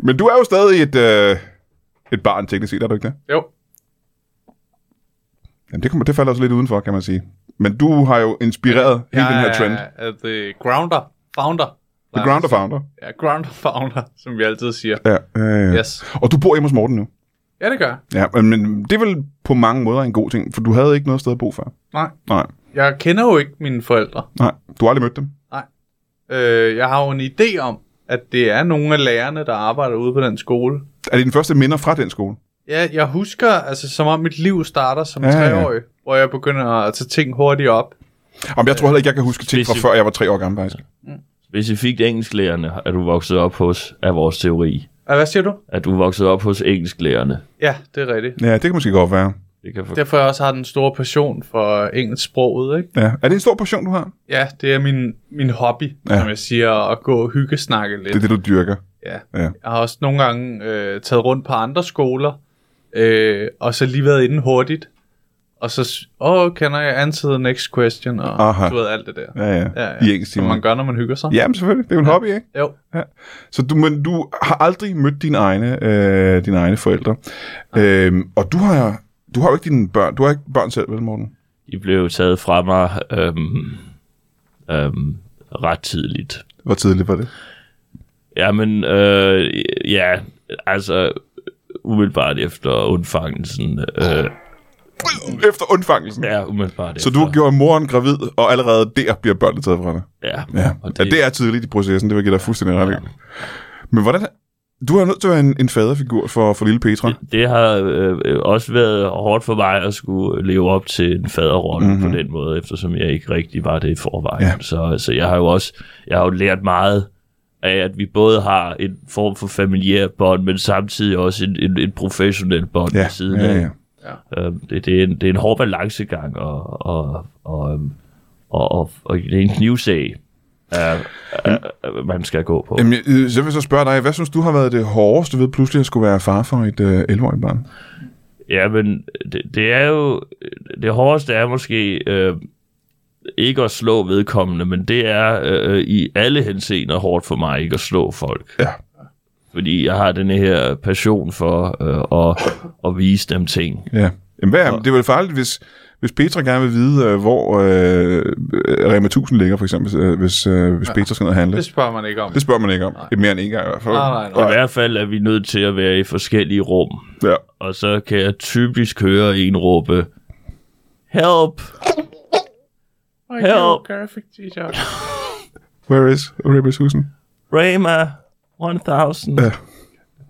Men du er jo stadig et, øh, et barn, teknisk set, er du ikke det? Jo, Jamen, det, kommer, det falder også lidt udenfor, kan man sige. Men du har jo inspireret hele den her trend. Jeg er the grounder, founder. The Grounder Founder. Ja, grounder founder, som vi altid siger. Ja, ja, ja. Yes. Og du bor hjemme hos Morten nu. Ja, det gør jeg. Ja, men- men det er vel på mange måder en god ting, for du havde ikke noget sted at bo før. Nej. Nej, Jeg kender jo ikke mine forældre. nej. Du har aldrig mødt dem. Øh, jeg har jo en idé om, at det er nogle af lærerne, der arbejder ude på den skole. Er det din første minder fra den skole? Ja, jeg husker, altså, som om mit liv starter som Ja, ja, ja. treårig, hvor jeg begynder at tage ting hurtigt op. Jamen, jeg tror heller ikke, jeg kan huske ting fra Specif- før jeg var tre år gammel, faktisk. Specifikt engelsklærerne er du vokset op hos, af vores teori. Ah, hvad siger du? At du er vokset op hos engelsklærerne. Ja, det er rigtigt. Ja, det kan måske godt være. Det kan for... Derfor jeg også har den store passion for engelsk sproget, ikke? Ja. Er det en stor portion, du har? Ja, det er min, min hobby, Ja. ja. som jeg siger, at gå og hygge snakke lidt. Det er det, du dyrker. Ja. Ja. ja. Jeg har også nogle gange øh, taget rundt på andre skoler, øh, og så lige været inde hurtigt. Og så, s- åh, kan jeg answer the next question, og Aha. Aha. du ved alt det der. Ja, ja. Ja, ja. I engelsk Som man gør, når man hygger sig. Jamen, selvfølgelig. Det er jo en hobby, ikke? Jo. Så du, men du har aldrig mødt dine egne, øh, dine egne forældre. Øhm, og du har, du har jo ikke dine børn. Du har ikke børn selv, vel, Morten? De blev jo taget fra mig øhm, øhm, ret tidligt. Hvor tidligt var det? Jamen, øh, ja, altså umiddelbart efter undfangelsen. Øh, Efter undfangelsen. ja, umiddelbart Så efter. du gjorde moren gravid, og allerede der bliver børnene taget fra dig. Ja, Ja, og det, ja, det er tidligt i processen, det vil jeg give dig fuldstændig ret i. Men hvordan... Du er nødt til at være en, en faderfigur for, for lille Petra. det har øh, øh, også været hårdt for mig at skulle leve op til en faderrolle mm-hmm. på den måde, eftersom jeg ikke rigtig var det i forvejen. Mhm. Ja. Ja. Så, så jeg har jo også jeg har jo lært meget af, at vi både har en form for familiær bånd, men samtidig også en, en, en professionel bånd ved siden ja, af. ja. Øhm, det, det, er en, det er en hård balancegang og, og, og, øhm, og, og, og det er en knivsag. øh, man skal gå på. Jamen, øh, så vil jeg så spørge dig, hvad synes du har været det hårdeste ved pludselig at skulle være far for et øh, 11-årigt barn? Ja, men det, det er jo... Det hårdeste er måske øh, ikke at slå vedkommende, men det er øh, i alle henseender hårdt for mig ikke at slå folk. Ja. Fordi jeg har den her passion for øh, at, at vise dem ting. Ja. Jamen, hvad er, det er vel farligt, hvis, hvis Petra gerne vil vide, øh, hvor øh, Rema 1000 ligger, for eksempel, øh, hvis, øh, hvis Petra skal ned og handle. Det spørger man ikke om. Det spørger man ikke om. Nej. Mere end en gang i hvert fald. Nej, nej, nej. I hvert fald er vi nødt til at være i forskellige rum. Ja. og så kan jeg typisk høre en råbe, help, I Help. do graphic design. Where is Rema 1000? Rema 1000. Ja.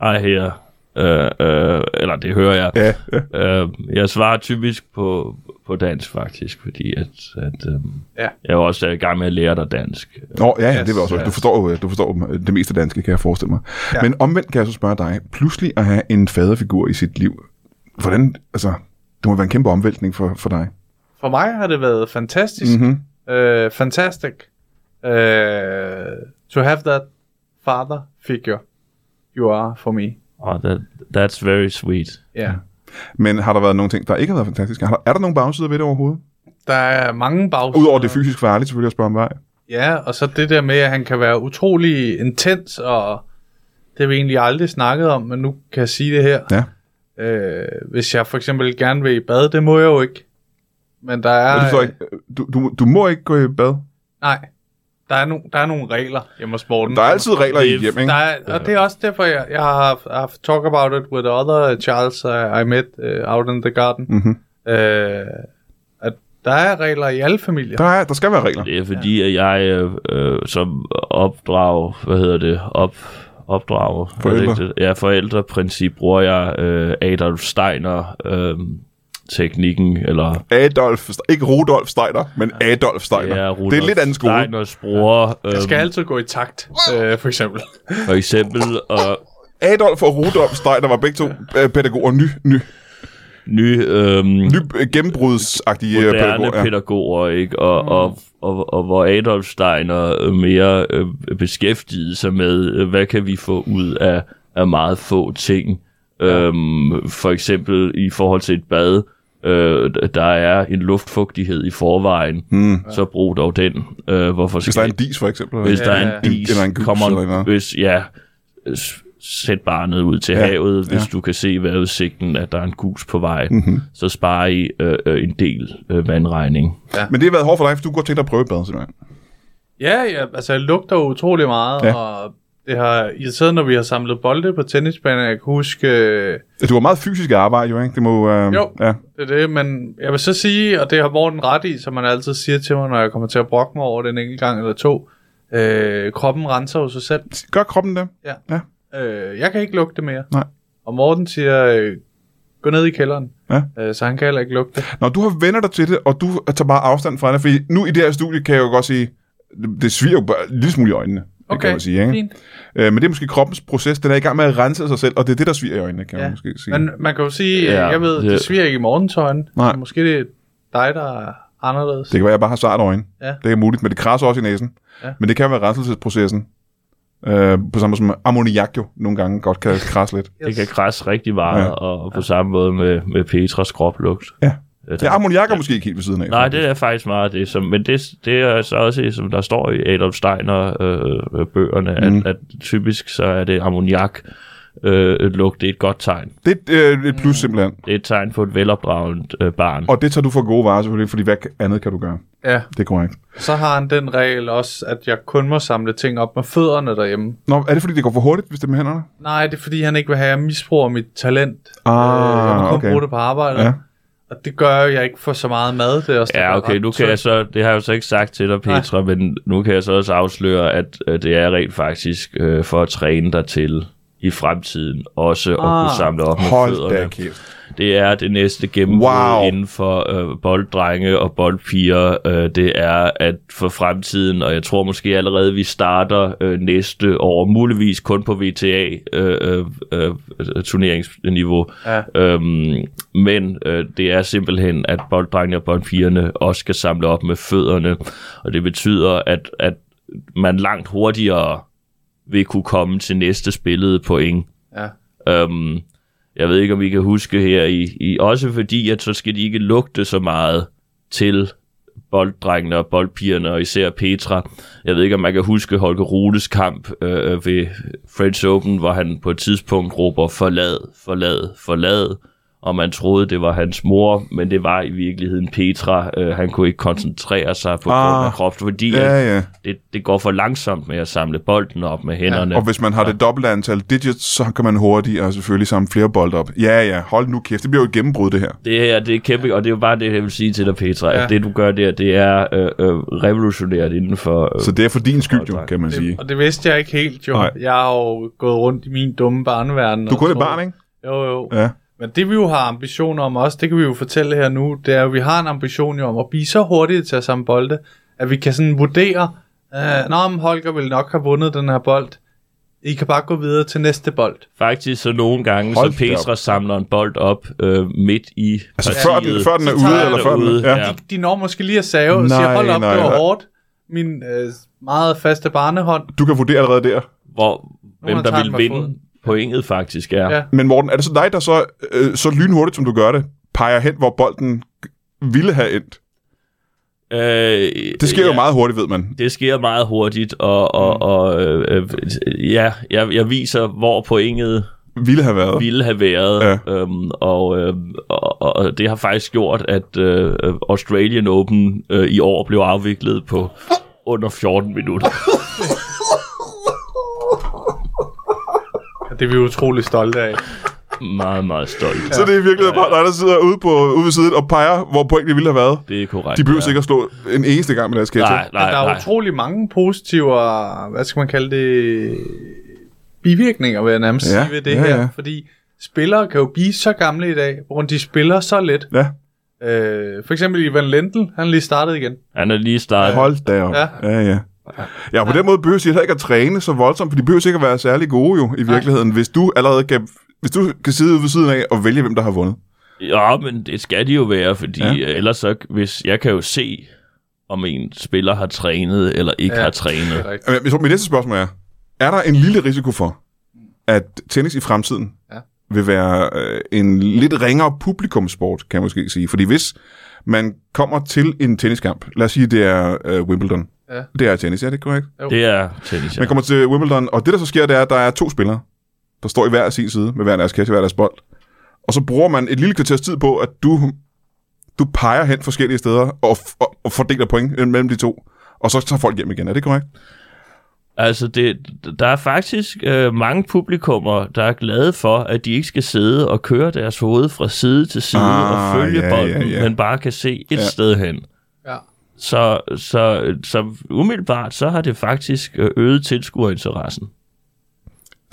Ej her, øh, øh, eller det hører jeg. Ja, ja. Øh, jeg svarer typisk på, på dansk faktisk, fordi at, at øh, Ja. jeg er også i gang med at lære dig dansk. Nå, ja, ja, det var Yes, også. ja. Du forstår, øh, du forstår øh, det meste danske, kan jeg forestille mig. Ja. Men omvendt kan jeg så spørge dig, pludselig at have en faderfigur i sit liv, hvordan, altså, det må være en kæmpe omvæltning for, for dig. For mig har det været fantastisk. Mm-hmm. Uh, fantastic. Uh, to have that father figure you are for me. Oh, that, that's very sweet. Ja. Yeah. Men har der været nogle ting, der ikke har været fantastiske? Har der, er der nogle bagsider ved det overhovedet? Der er mange bagsider. Udover det fysisk farlige, selvfølgelig at spørge om vej. Ja, og så det der med, at han kan være utrolig intens, og det har vi egentlig aldrig snakket om, men nu kan jeg sige det her. Ja. Øh, hvis jeg for eksempel gerne vil i bad, det må jeg jo ikke. Men der Og er... du, forstår ikke, du, du, du må ikke gå i bad. Nej, der er, no, der er nogle regler hjemme hos sporten. Der er altid regler i et Det- hjem, ikke? Der er, og det er også derfor, jeg, jeg har haft- haft talk about it with other uh, Charles uh, I met uh, out in the garden. Mhm. Øh, at der er regler i alle familier. Der, er, der skal være regler. Det er fordi, at jeg øh, øh, som opdrag, hvad hedder det, op, opdrag, Forældre. ja, forældreprincip, bruger jeg øh, Adolf Steiner øh, teknikken, eller Adolf, Ste- ikke Rudolf Steiner, men Adolf Steiner. ja, det er en lidt anden skole. Steiners bror, øh, Jeg skal altid gå i takt, øh, for eksempel. for eksempel, og Adolf og Rudolf Steiner var begge to øh, pædagoger, ny, ny, nye øh, ny øh, gennembrudsagtige øh, moderne pædagoger. Ja. pædagoger, ikke? Og, mm. og, og, og hvor Adolf Steiner øh, mere øh, beskæftigede sig med, øh, hvad kan vi få ud af, af meget få ting. Øhm, for eksempel i forhold til et bad, øh, der er en luftfugtighed i forvejen, mm. så brug dog den. Øh, hvorfor skal Hvis der er en dis, for eksempel. hvis Ja. der Ja, er en ja. dis, Eller en gus, kommer eller hvad? en, hvis, ja, s- sæt barnet ud til Ja, ja, havet, hvis ja. ja. du kan se ved udsigten, at der er en gus på vej, Mhm. mm-hmm. så sparer I øh, øh, en del øh, vandregning. Men det har været hårdt for dig, for du kunne godt tænke dig at prøve et bad, simpelthen. Ja, ja, altså jeg lugter utrolig meget, Ja. ja. og det har irriteret, når vi har samlet bolde på tennisbanen. Jeg kan huske, øh, Du har meget fysisk arbejde, jo, ikke? Det må, øh, Jo. Ja. det er det, men jeg vil så sige, og det har Morten ret i, som man altid siger til mig, når jeg kommer til at brokke mig over den enkelt gang eller to, øh, kroppen renser jo sig selv. Gør kroppen det. Øh, jeg kan ikke lugte mere. Nej. Og Morten siger, øh, gå ned i kælderen, Ja. øh, så han kan heller ikke lugte. Når du har vendt dig til det, og du tager bare afstand fra det, fordi nu i det her studie kan jeg jo godt sige, det sviger jo bare en lille smule i øjnene. Det kan Okay, man sige, ikke? fint. Øh, men det er måske kroppens proces, den er i gang med at rense sig selv, og det er det, der sviger i øjnene, kan ja. man måske sige. Men man kan jo sige, ja, Ja, jeg ved, det det- sviger ikke i morgentøjen. Nej. Så Måske det er dig, der er anderledes. Det kan være, at jeg bare har sart øjne. Ja. Det er muligt, men det krasser også i næsen. Ja. Men det kan være renselsesprocessen. Øh, på samme måde som ammoniak jo nogle gange godt kan krasse lidt. Yes. Det kan krasse rigtig meget, Ja. ja. og på samme måde med, med Petras kroplugt. Ja. Øh, der- Ja, ammoniak er måske ikke helt ved siden af. Nej, det er faktisk meget det, som, men det, det er så også, som der står i Adolf Steiner-bøgerne, øh, bøgerne, Mm. at, at typisk så er det ammoniak, øh, lugt, det er et godt tegn. Det er øh, et Mm. plus simpelthen. Det er et tegn på et velopdragent øh, barn. Og det tager du for gode varer selvfølgelig, fordi hvad andet kan du gøre? Ja, Det er korrekt. så har han den regel også, at jeg kun må samle ting op med fødderne derhjemme. Nå, er det fordi, det går for hurtigt, hvis det er med hænderne? Nej, det er fordi, han ikke vil have, at jeg misbruger mit talent. Ah, Øh, jeg må kun okay. bruge det på arbejde. Ja. Og det gør jo, at jeg ikke får så meget mad. Det er også Ja, okay, nu kan altså- jeg så, det har jeg jo så ikke sagt til dig, Petra, Nej. men nu kan jeg så også afsløre, at øh, det er rent faktisk øh, for at træne dig til i fremtiden, også at Ah. kunne samle op med Hold da fødderne. kæft. Det er det næste gennembrud Wow. wow. inden for øh, bolddrenge og boldpiger. Øh, det er at for fremtiden, og jeg tror måske allerede, vi starter øh, næste år, muligvis kun på øh, VTA-turneringsniveau. Ja. Øhm, men øh, det er simpelthen, at bolddrengene og boldpigerne også skal samle op med fødderne, og det betyder, at, at man langt hurtigere vil kunne komme til næste spillede point. Ja. Øhm, jeg ved ikke, om I kan huske her, i, i, også fordi, at så skal de ikke lugte så meget til bolddrengene og boldpigerne, og især Petra. Jeg ved ikke, om man kan huske Holger Rudes kamp øh, ved French Open, hvor han på et tidspunkt råber, forlad, forlad, forlad, og man troede, det var hans mor, men det var i virkeligheden Petra. Øh, han kunne ikke koncentrere sig på Ah. ah, grund af krops, fordi Ja, ja, ja. det, det går for langsomt med at samle bolden op med hænderne. Og hvis man har det dobbelte antal digits, så kan man hurtigere selvfølgelig samle flere bolde op. Ja, ja, hold nu kæft. Det bliver jo et gennembrud, det her. Det her, det er kæmpe, og det er jo bare det, jeg vil sige til dig, Petra, ja. Ja. at det, du gør der, det er øh, øh, revolutionært inden for... Øh, Så det er for din skyld, jo, tak. kan man sige. Det, og det vidste jeg ikke helt, jo. Nej. Nej. Jeg har jo gået rundt i min dumme barneverden. Du er og kun et troet- barn, ikke? Jo, jo. Ja. Men det vi jo har ambitioner om også, det kan vi jo fortælle her nu, det er, at vi har en ambition jo om at blive så hurtige til at samle bolde, at vi kan sådan vurdere, øh, Nå, men Holger vil nok have vundet den her bold. I kan bare gå videre til næste bold. Faktisk så nogle gange, Hold Hold da så Petra op. samler en bold op øh, midt i Altså før den, før den er Så tager ude, jeg eller det før den... ude, Ja. ja. De, de når måske lige at save og Nej, siger, hold op, nej, det var nej. hårdt. Min øh, meget faste barnehånd. Du kan vurdere allerede der. hvor hvem Nogen der tager den ville med vinde foden. pointet faktisk er. Ja. Ja. Men Morten, er det så dig, der så, øh, så lynhurtigt, som du gør det, peger hen, hvor bolden ville have endt? Øh, Det sker ja, jo meget Mm. hurtigt, ved man. Det sker meget hurtigt, og, og, og øh, øh, ja, jeg, jeg viser, hvor pointet Ville have været. ville have været. Ja. Øhm, og, øhm, og, og, og det har faktisk gjort, at øh, øh, Australian Open øh, i år blev afviklet på under 14 minutter. Og det er vi utrolig stolte af. meget, meget stolt. Så det er i virkeligheden bare dig, der sidder ude, på, ude ved siden og peger, hvor pointet ville have været. Det er korrekt. De behøver sikkert at slå en eneste gang med deres ja. sketch. Nej, nej, at der er nej. utrolig mange positive, og, hvad skal man kalde det, bivirkninger, vil jeg nærmest Ja, ja, sige ved det ja, ja, her. ja. Ja. Fordi spillere kan jo blive så gamle i dag, hvor de spiller så let. Ja, Øh, for eksempel Ivan Lendl, han er lige startet igen. Han er lige startet. hold da op. Ja, Ja. ja. ja. Ja, på den måde behøver de heller ikke at træne så voldsomt, for de behøver ikke at være særlig gode jo, i virkeligheden, hvis du allerede kan, hvis du kan sidde ude ved siden af og vælge, hvem der har vundet. Ja, men det skal de jo være, fordi Ja. ja. ellers så, hvis jeg kan jo se, om en spiller har trænet eller ikke ja. Ja. har trænet. Rigtigt. Men Jeg tror, mit næste spørgsmål er, er der en lille risiko for, at tennis i fremtiden ja. Ja. vil være øh, en lidt ringere publikumsport, kan jeg måske sige. Fordi hvis man kommer til en tenniskamp, lad os sige, det er øh, Wimbledon. Ja. Det er tennis, ja, det er korrekt. Ja. Det er tennis, ja. Man kommer til Wimbledon, og det der så sker, det er, at der er to spillere, der står i hver sin side med hver deres kæft i hver deres bold. Og så bruger man et lille kvarters tid på, at du, du peger hen forskellige steder og, f- og, og fordeler point mellem de to. Og så tager folk hjem igen, er det korrekt? Altså, det, der er faktisk øh, mange publikummer, der er glade for, at de ikke skal sidde og køre deres hoved fra side til side Ah, og følge ja, bolden, ja, ja. men bare kan se et Ja. sted hen. Ja. Så, så, så umiddelbart, så har det faktisk øh, øget tilskuerinteressen.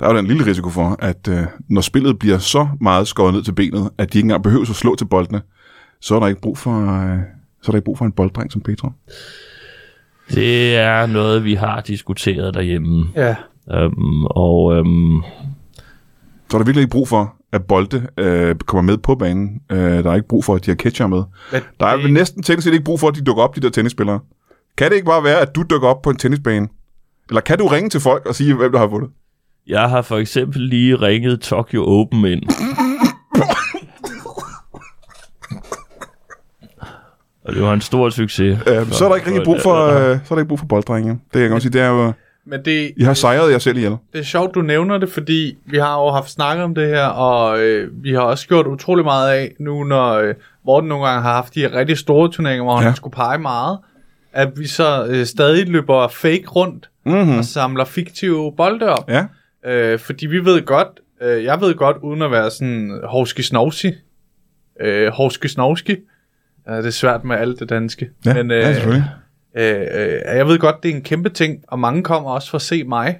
Der er jo den lille risiko for, at øh, når spillet bliver så meget skåret ned til benet, at de ikke engang behøver at slå til boldene, så er der ikke brug for, øh, så er der ikke brug for en bolddreng som Petra. Det er noget, vi har diskuteret derhjemme. Ja. Øhm, og øhm, Så er der virkelig ikke brug for, at bolde øh, kommer med på banen. Øh, der er ikke brug for, at de har catcher med. Men Der er det- vel næsten teknisk set ikke brug for, at de dukker op, de der tennisspillere. Kan det ikke bare være, at du dukker op på en tennisbane? Eller kan du ringe til folk og sige, hvem der har vundet? jeg har for eksempel lige ringet Tokyo Open ind. og det var en stor succes. Øh, så er der ikke rigtig brug for, øh, så er der ikke brug for bolddrenge. Det kan jeg godt sige. Det er jo, Men det, I har sejret jer selv ihjel. det er sjovt, du nævner det, fordi vi har jo haft snakket om det her, og øh, vi har også gjort utrolig meget af, nu når øh, Morten nogle gange har haft de her rigtig store turneringer, hvor ja. Ja. han skulle pege meget, at vi så øh, stadig løber fake rundt Mm-hmm. og samler fiktive bolde op. Ja. Øh, fordi vi ved godt, øh, jeg ved godt, uden at være sådan hovski snovski, øh, hovski snovski, øh, det er svært med alt det danske, Ja, men øh, ja, selvfølgelig. øh, øh, jeg ved godt, det er en kæmpe ting, og mange kommer også for at se mig.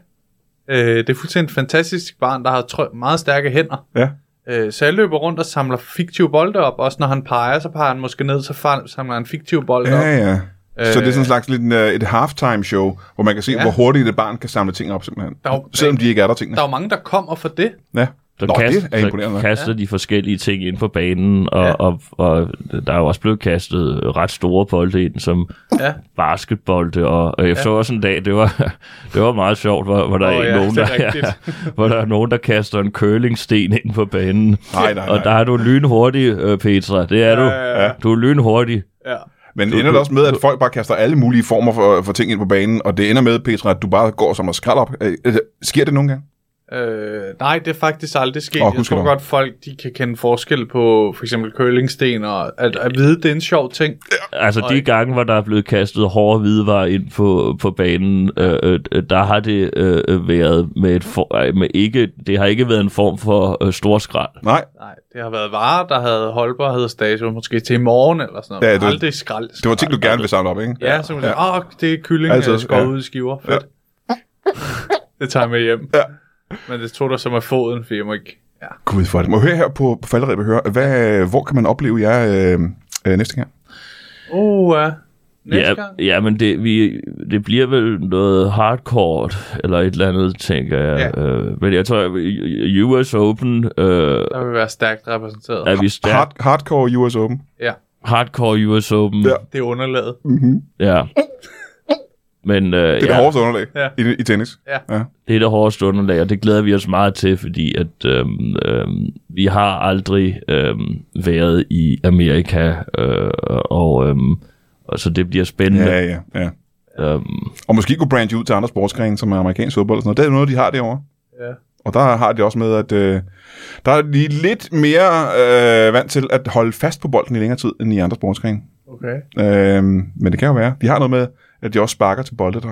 Øh, det er fuldstændig et fantastisk barn, der har trø- meget stærke hænder. Ja. Øh, så jeg løber rundt og samler fiktive bolde op, også når han peger, så peger han måske ned, så fa- samler han fiktive bolde op. Ja, ja. Så det er sådan en Øh, slags lidt en, øh, et halftime show, hvor man kan se, ja. Ja. hvor hurtigt et barn kan samle ting op, simpelthen. Der er jo- Selvom de ikke er der, tingene. Der er jo mange, der kommer for det. Ja. Så, Nå, det kast, er imponerende så nok. kaster de forskellige ting ind på banen, og, Ja. ja. og, og der er jo også blevet kastet ret store bolde ind, som Ja. basketbolde, og, og jeg så også en dag, det var, det var meget sjovt, hvor, hvor, der Åh, oh, er ja, nogen, det der, er hvor der er nogen, der kaster en curlingsten ind på banen. Nej, nej, Og der nej. er du lynhurtig, øh, Petra. Det er du. ja, ja. Du er lynhurtig. Ja. Men det ender det også med, at folk bare kaster alle mulige former for, for ting ind på banen, og det ender med, Petra, at du bare går som og skrald op. Øh, øh, Sker det nogle gange? Øh, nej, det er faktisk aldrig sket. Åh, Oh, jeg gudskelov. tror godt, folk de kan kende forskel på for eksempel curlingsten og at, at vide, det er en sjov ting. Altså Og- de gange, hvor der er blevet kastet hårde hvidevarer ind på, på banen, øh, øh, der har det øh, øh, været med et for, øh, med ikke, det har ikke været en form for øh, stor skrald. Nej, Nej, det har været varer, der havde holdbarhedsdato måske til i morgen eller sådan noget. Ja, Ja, det det, var- aldrig skrald. det var ting, du gerne ville samle op, ikke? Ja, så kunne man sige, åh, det er kylling, Altså, altså, jeg skår ja. ja. ud i skiver. Fedt. det tager jeg med hjem. Ja. Men det tog der så med foden, fordi jeg må ikke... Ja. Gud for det. Må jeg høre her på, på falderæbet høre, hvad, hvor kan man opleve jer øh, øh, næste gang? Uh, ja. Næste ja, gang. ja, men det, vi, det bliver vel noget hardcore eller et eller andet, tænker jeg. Ja. Øh, men jeg tror, at i- i US Open øh, Der vil være stærkt repræsenteret. er vi Hard, stærkt. hardcore US Open. Ja, Hardcore US Open. Ja. det er underlaget. ja. Men øh, Mm-hmm. Det er ja, det hårdeste underlag Ja. i, i tennis. Ja. det er det hårdeste underlag, og det glæder vi os meget til, fordi at øhm, øhm, vi har aldrig øhm, været i Amerika, øh, og, øhm, og så det bliver spændende. Ja, ja, ja. Øhm, Og måske kunne branche ud til andre sportsgrene, som er amerikansk fodbold og sådan noget. Det er noget, de har derovre. Ja. Og der har de også med, at øh, der er de lidt mere øh, vant til at holde fast på bolden i længere tid, end i andre sportsgrene. Okay. Øh, men det kan jo være. De har noget med, at de også sparker til bolde, der,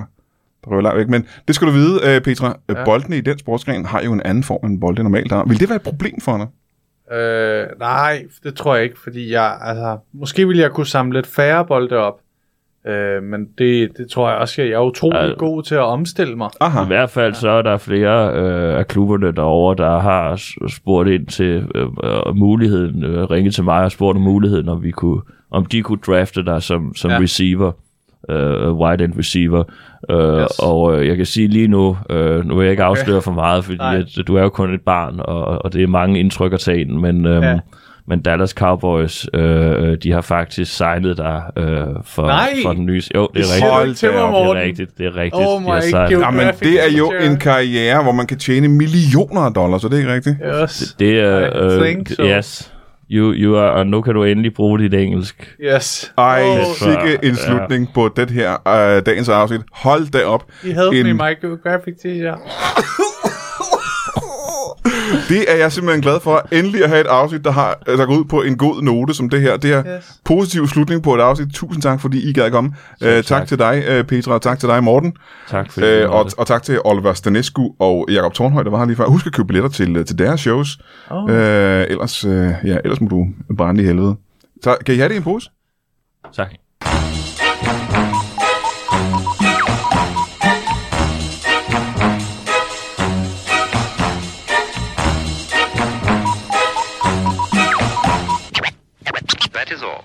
der røver langt væk. Men det skal du vide, øh, Petra. Ja. Ja. Boldene i den sportsgren har jo en anden form end bolde normalt har. Vil det være et problem for dig? Øh, nej, det tror jeg ikke, fordi jeg, altså, måske ville jeg kunne samle lidt færre bolde op, øh, men det, det tror jeg også, at jeg er utrolig Altså- god til at omstille mig. Aha. I hvert fald så er der flere øh, af klubberne derovre, der har s- spurgt ind til øh, øh, muligheden, øh, ringet til mig og spurgt om muligheden, om, vi kunne, om de kunne drafte dig som, som Ja. ja. receiver, øh, wide end receiver. Øh, Yes. yes. Og øh, jeg kan sige lige nu, øh, nu vil jeg ikke afsløre for meget, fordi Nej. at, du er jo kun et barn, og, og det er mange indtryk at tage ind, men... Øh, Ja. Men Dallas Cowboys, øh, øh, de har faktisk signet dig øh, for, Nej! for den nye... Jo, det er Det rigtigt. siger du ikke til Hold da mig, op, Det er Morten. rigtigt, det er rigtigt. Oh my Jeg signede- god. Jamen, Graphic det er jo design. en karriere, hvor man kan tjene millioner af dollars, så det er ikke rigtigt? Yes. Det er... I Øh, think so. Yes. You, you are, og nu kan du endelig bruge dit engelsk. Yes. Ej, Åh, så- sikke en ja. slutning på det her øh, dagens afsnit. Hold da op. I havde en, den i my geographic teacher. Det er jeg simpelthen glad for. Endelig at have et afsnit, der, har, der går ud på en god note som det her. Det er yes. Yes. positiv slutning på et afsnit. Tusind tak, fordi I gad komme. Øh, tak, tak tak. til dig, øh, Petra, og tak til dig, Morten. Tak for Øh, det. og, og tak til Oliver Stanescu og Jakob Tornhøj, der var her lige før. Husk at købe billetter til, øh, til deres shows. Oh. Øh, ellers, øh, ja, ellers må du brænde i helvede. Så, kan I have det i en pose? Tak. That is all.